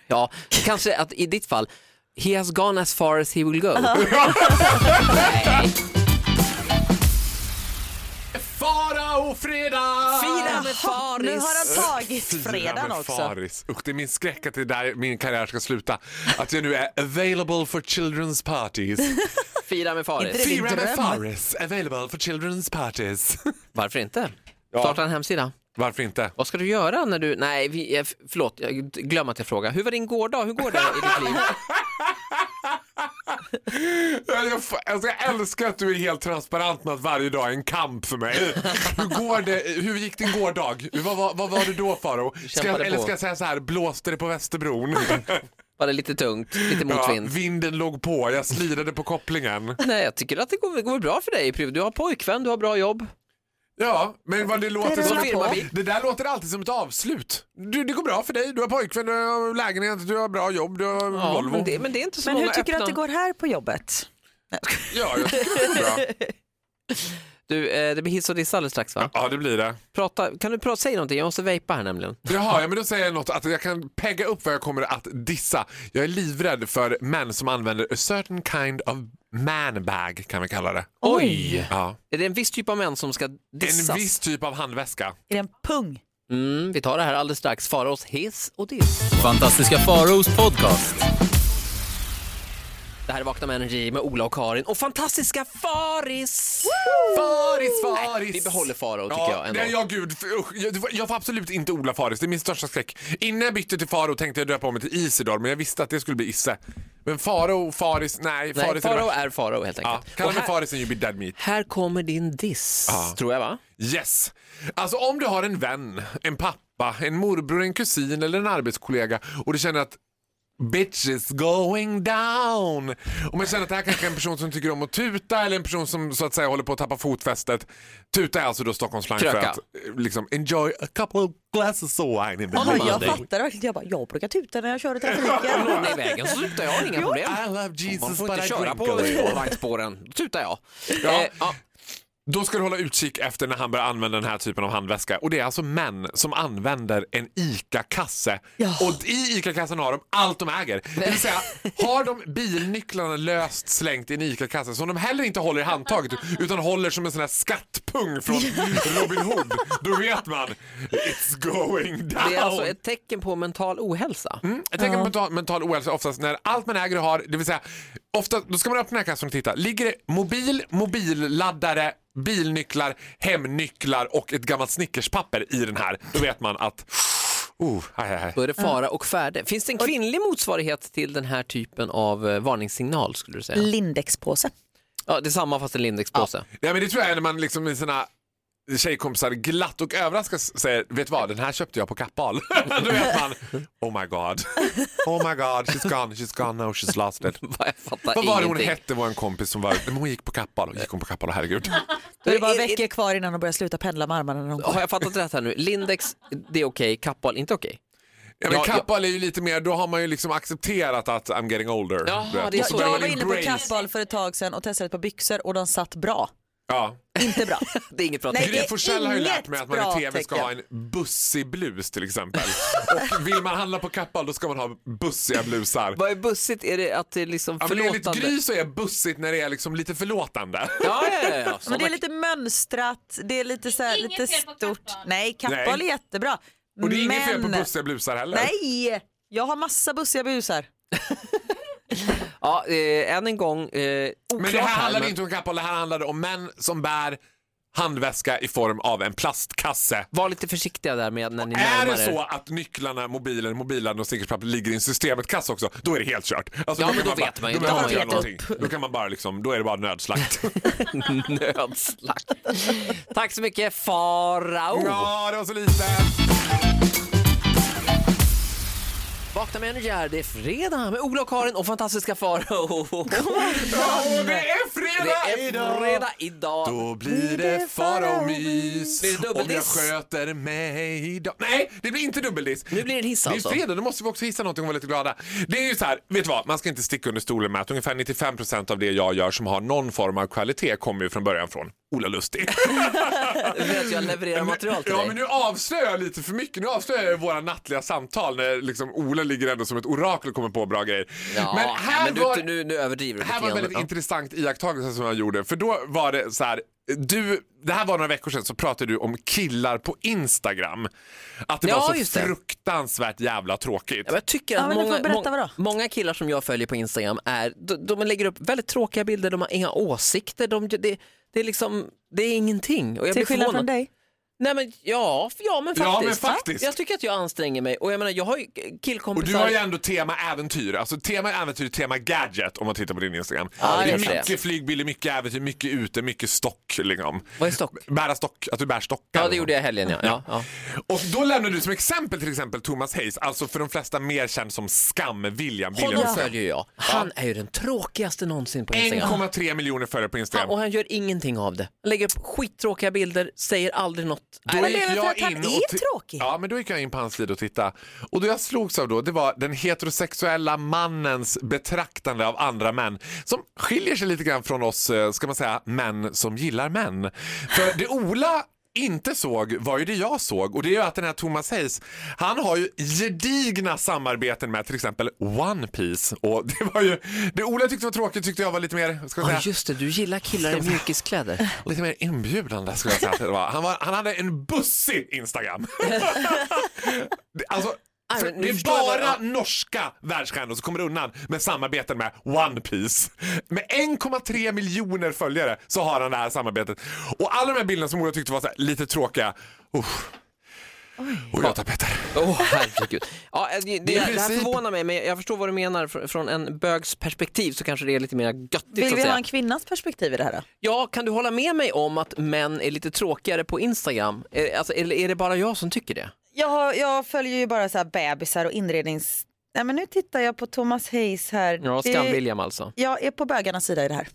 Ja, kanske att i ditt fall, He has gone as far as he will go.
Fara och fredag!
Fira med Faris!
Nu har han tagit fredagen också.
Faris. Usch, det är min skräck att det är där min karriär ska sluta. Att jag nu är available for children's parties.
Fira med
Inte det
Faris.
din
Fira med
dröm?
Faris, available for children's parties.
Varför inte?
Ja.
Starta en hemsida.
Varför inte?
Vad ska du göra när du... Nej, vi, eh, förlåt, jag glömde att jag frågade. Hur var din gårdag? Hur går det i ditt liv?
Jag, jag, alltså, jag älskar att du är helt transparent med att varje dag är en kamp för mig. Hur, går det, hur gick din gårdag? Vad, vad, vad var det då Faro? Ska jag,
Kämpade
eller
på.
ska jag säga så här, blåste det på Västerbron?
Var det lite tungt? Lite
Ja,
motvind?
vinden låg på, jag slidade på kopplingen.
Nej, jag tycker att det går, går bra för dig. i priv- Du har pojkvän, du har bra jobb.
Ja, men vad det låter
rullar
som...
på.
Det där låter alltid som ett avslut. Du, det går bra för dig, du har pojkvän, du har lägenhet, du har bra jobb, du har
Ja,
Volvo.
men, det, men det är inte så
Men hur
många
tycker du att det
öppna-
går här på jobbet?
Ja, jag tycker det går bra.
Du, eh, det blir hiss och diss alldeles strax va?
Ja, det blir det.
Prata, kan du prata, säg någonting? Jag måste vejpa här nämligen.
Jaha, ja, men då säger jag något att jag kan pegga upp vad jag kommer att dissa. Jag är livrädd för män som använder a certain kind of man bag kan vi kalla det.
Oj!
Ja.
Är det en viss typ av män som ska dissas?
En viss typ av handväska.
Är det en pung?
Mm, vi tar det här alldeles strax. Faraos hiss och diss.
Fantastiska Faraos podcast.
Det här är Vakna med Energy med Ola och Karin och fantastiska Faris!
Faris, Faris!
Nej, vi behåller Farao tycker jag ändå.
nej, ja, gud, för, usch, jag, jag får absolut inte odla Faris, det är min största skräck. Innan jag bytte till Faro tänkte jag döpa om mig till Isidor, men jag visste att det skulle bli Isse. Men Faro, Faris, nej.
Nej,
Faris är det
Farao
värsta.
är Farao helt
Ja,
enkelt.
kalla
och
mig
här,
Faris and you be dead meat.
här kommer din diss,
Ja.
tror jag va?
Yes. Alltså om du har en vän, en pappa, en morbror, en kusin eller en arbetskollega och du känner att Bitch is going down. Om man känner att det här kanske är en person som tycker om att tuta eller en person som så att säga håller på att tappa fotfästet. Tuta är alltså då Stockholmsslang för
Kröka.
att eh, liksom enjoy a couple of glasses of wine in the
Ja, jag
morning.
fattar verkligen. Jag bara, jag brukar tuta när jag kör i trafiken.
Någon är i vägen så tutar jag, inga problem.
I love
Man
Jesus
får
but I
inte köra
drink
på
a little.
spårvagnsspåren, då tutar jag.
Ja.
Eh, ja.
Då ska du hålla utkik efter när han börjar använda den här typen av handväska. Och det är alltså män som använder en ICA-kasse.
Ja.
Och i ICA-kassen har de allt de äger. Det vill säga, har de bilnycklarna löst slängt i en ICA-kasse som de heller inte håller i handtaget utan håller som en sån här skattpung från Robin Hood. Då vet man, it's going down.
Det är alltså ett tecken på mental ohälsa.
Mm, Jag tänker på mental, mental ohälsa oftast när allt man äger och har, det vill säga, ofta, då ska man öppna den här kassan och titta. Ligger det mobil, mobilladdare, bilnycklar, hemnycklar och ett gammalt snickerspapper i den här, då vet man att... Oh, hej, hej, hej.
Då är det fara och färde. Finns det en kvinnlig motsvarighet till den här typen av eh, varningssignal skulle du säga?
Lindexpåse.
Ja, det är samma fast en Lindexpåse.
Ja, men det tror jag är när man liksom med sina tjejkompisar glatt och överraskat säger, vet du vad, den här köpte jag på Kappahl. då vet man, oh my god, oh my god, she's gone, she's gone now, she's lost it.
Jag fattar
Vad var det hon
ingenting.
hette, vår kompis som var, Nej, men hon gick på Kappahl, gick hon på Kappahl, herregud.
Då är det bara
I- i-
veckor kvar innan de börjar sluta pendla med armarna. Någon gång.
Har jag fattat rätt här nu? Lindex, det är okej. Kappahl, inte okej.
Ja, men
Ja, ja.
Kappahl är ju lite mer, då har man ju liksom accepterat att I'm getting older.
Jaha,
Du vet.
det är
Och
så
då
det
är
är.
Jag
man
var inne på
embraced.
Kappahl för ett tag sedan och testade ett par byxor och de satt bra.
Ja.
Inte bra.
Det är inget bra
Nej,
tecken.
Gry
det- är
Forssell har ju lärt
inget
mig att man
bra
i tv ska
tecken.
ha en bussig blus till exempel. Och vill man handla på Kappahl då ska man ha bussiga blusar.
Vad är bussigt? Är det att det är liksom
Ja, men enligt
förlåtande?
Gry så är bussigt när det är liksom lite förlåtande.
Ja, ja, ja. ja.
Men det är
Sådana-
lite mönstrat, det är lite, så här,
Inget
lite
fel på
stort.
Kappahl.
Nej, Kappahl är
Nej.
jättebra.
Och det är inget fel på
Men-
bussiga blusar heller.
Nej, jag har massa bussiga busar.
ja, eh, än en gång, eh, oklart
Men det här handlade
men-
inte om Kappahl, det här handlade om män som bär handväska i form av en plastkasse.
Var lite försiktiga där med när ni
Är
närmar
det
er.
så att nycklarna, mobilen, mobilen och stickerspapper ligger i en systemet-kasse också, då är det helt kört. Alltså,
Ja,
kan
men då
bara-
vet man ju.
Då,
Då har
behöver man inte
man
göra någonting. då kan man bara liksom, då är det bara nödslakt.
Nödslakt. Tack så mycket Farao.
Ja, det var så lite.
Vakna med energi här, det är fredag med Ola och Karin och fantastiska Farao.
Och det är fredag
Det är fredag idag.
Då blir det fara och mys
Blir det
om jag
dubbeldiss?
sköter mig idag. Nej, det blir inte dubbeldiss.
Nu blir det en hiss alltså.
Det är fredag, då måste vi också hissa någonting och vara lite glada. Det är ju så här, vet du vad, man ska inte sticka under stolen med att ungefär 95% av det jag gör som har någon form av kvalitet kommer ju från början från Ola Lustig.
Du vet, jag levererar material till
ja,
dig.
men nu avslöjar jag lite för mycket. Nu avslöjar jag våra nattliga samtal när liksom Ola ligger ändå som ett orakel och kommer på bra grejer.
Ja,
men här
men du,
var...
du, nu, nu överdriver du
Det här
lite
var en
grann.
väldigt
Ja.
intressant iakttagelse som jag gjorde. För då var det så här, du, det här var några veckor sedan så pratade du om killar på Instagram. Att det
Ja,
var
just
så
det.
fruktansvärt jävla tråkigt.
Ja, men jag tycker
Ja,
att
men du får
många,
berätta,
många,
vadå?
många killar som jag följer på Instagram är, de, de lägger upp väldigt tråkiga bilder, de har inga åsikter, de, det, det, är, liksom, det är ingenting. Och jag blir
Till skillnad
förvånad.
från dig.
Nej, men, ja, f- ja, men
Ja,
faktiskt.
men faktiskt.
Jag tycker att jag anstränger mig och jag menar, jag har ju
Och
killkompisar.
du har ju ändå tema äventyr, alltså tema äventyr, tema gadget om man tittar på din Instagram.
Ja,
det är
just det.
mycket flygbilder, mycket äventyr, mycket ute, mycket stock. Liksom.
Vad är stock?
Bära stock, att du bär stockar.
Ja, det gjorde jag i helgen ja. ja, ja.
Och då lämnade du som exempel till exempel Thomas Hayes, alltså för de flesta mer känd som Skam, William
Honom
Williamson.
följer jag. Han är ju den tråkigaste någonsin på Instagram.
1,3 miljoner följare på Instagram.
Han, och han gör ingenting av det. Han lägger upp skittråkiga bilder, säger aldrig något.
Då
Men
gick
det är väl för
jag
att han
in
är
och ti-
tråkig.
Ja, men då gick jag in på hans sida och tittade. Och det jag slogs av då, det var den heterosexuella mannens betraktande av andra män som skiljer sig lite grann från oss, eh, ska man säga, män som gillar män. För det Ola inte såg var ju det jag såg och det är ju att den här Thomas Hayes, han har ju gedigna samarbeten med till exempel One Piece och det var ju, det Ola tyckte var tråkigt tyckte jag var lite mer, ska man säga,
Ja, just det, du gillar killar i mjukiskläder.
lite mer inbjudande skulle jag säga att det var. Han, var, han hade en bussig Instagram. Det- alltså,
Nej,
för
men nu
det är
förstår jag
bara
vad-
norska världsstjärnor som kommer undan med samarbeten med One Piece. Med 1,3 miljoner följare så har han det här samarbetet. Och alla de här bilderna som Ola tyckte var så här, lite tråkiga. Usch. Och jag tar Petter.
Åh herregud. Ja, eh, det, det,
I
det här
princip-
förvånar mig men jag förstår vad du menar. Fr- Från en bögs perspektiv så kanske det är lite mer göttigt. så
Vill
att
vi
säga.
ha en kvinnas perspektiv i det här då?
Ja, kan du hålla med mig om att män är lite tråkigare på Instagram? Eh, Alltså, eller är det bara jag som tycker det?
Jag, har- jag följer ju bara så här bebisar och inrednings... Nej men nu tittar jag på Thomas Hayes här.
Ja,
Det-
Skam-William alltså.
Jag är på bögarnas sida i det här.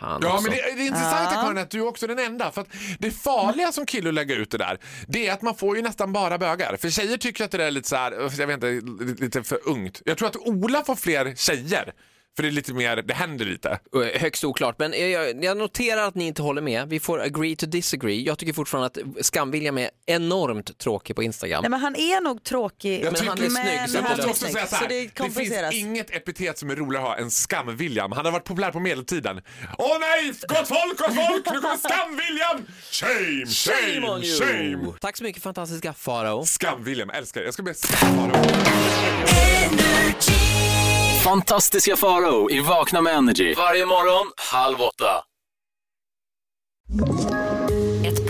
Fan
Ja,
också.
men det, det är intressant Karin att du är också den enda. För att det farliga som kille att lägga ut det där, det är att man får ju nästan bara bögar. För tjejer tycker att det där är lite så här, jag vet inte, lite för ungt. Jag tror att Ola får fler tjejer. För det är lite mer, det händer lite.
Eh, Högst oklart, men eh, jag, jag noterar att ni inte håller med. Vi får agree to disagree. Jag tycker fortfarande att Skam-William är enormt tråkig på Instagram.
Nej men han är nog tråkig.
Jag
Men han är snygg, så
Jag
det
han
måste
löser
är
också
snygg,
säga så
så
här,
det
det finns
kompenseras.
inget epitet som är roligare att ha än Skam-William. Han har varit populär på medeltiden. Åh nej, gott folk, gott folk, nu kommer Skam-William! Shame, shame, shame!
Tack så mycket fantastiska Farao.
Skam-William, älskar det. Jag ska bli skam
Fantastiska Farao i Vakna med Energy. Varje morgon, halv åtta.
Ett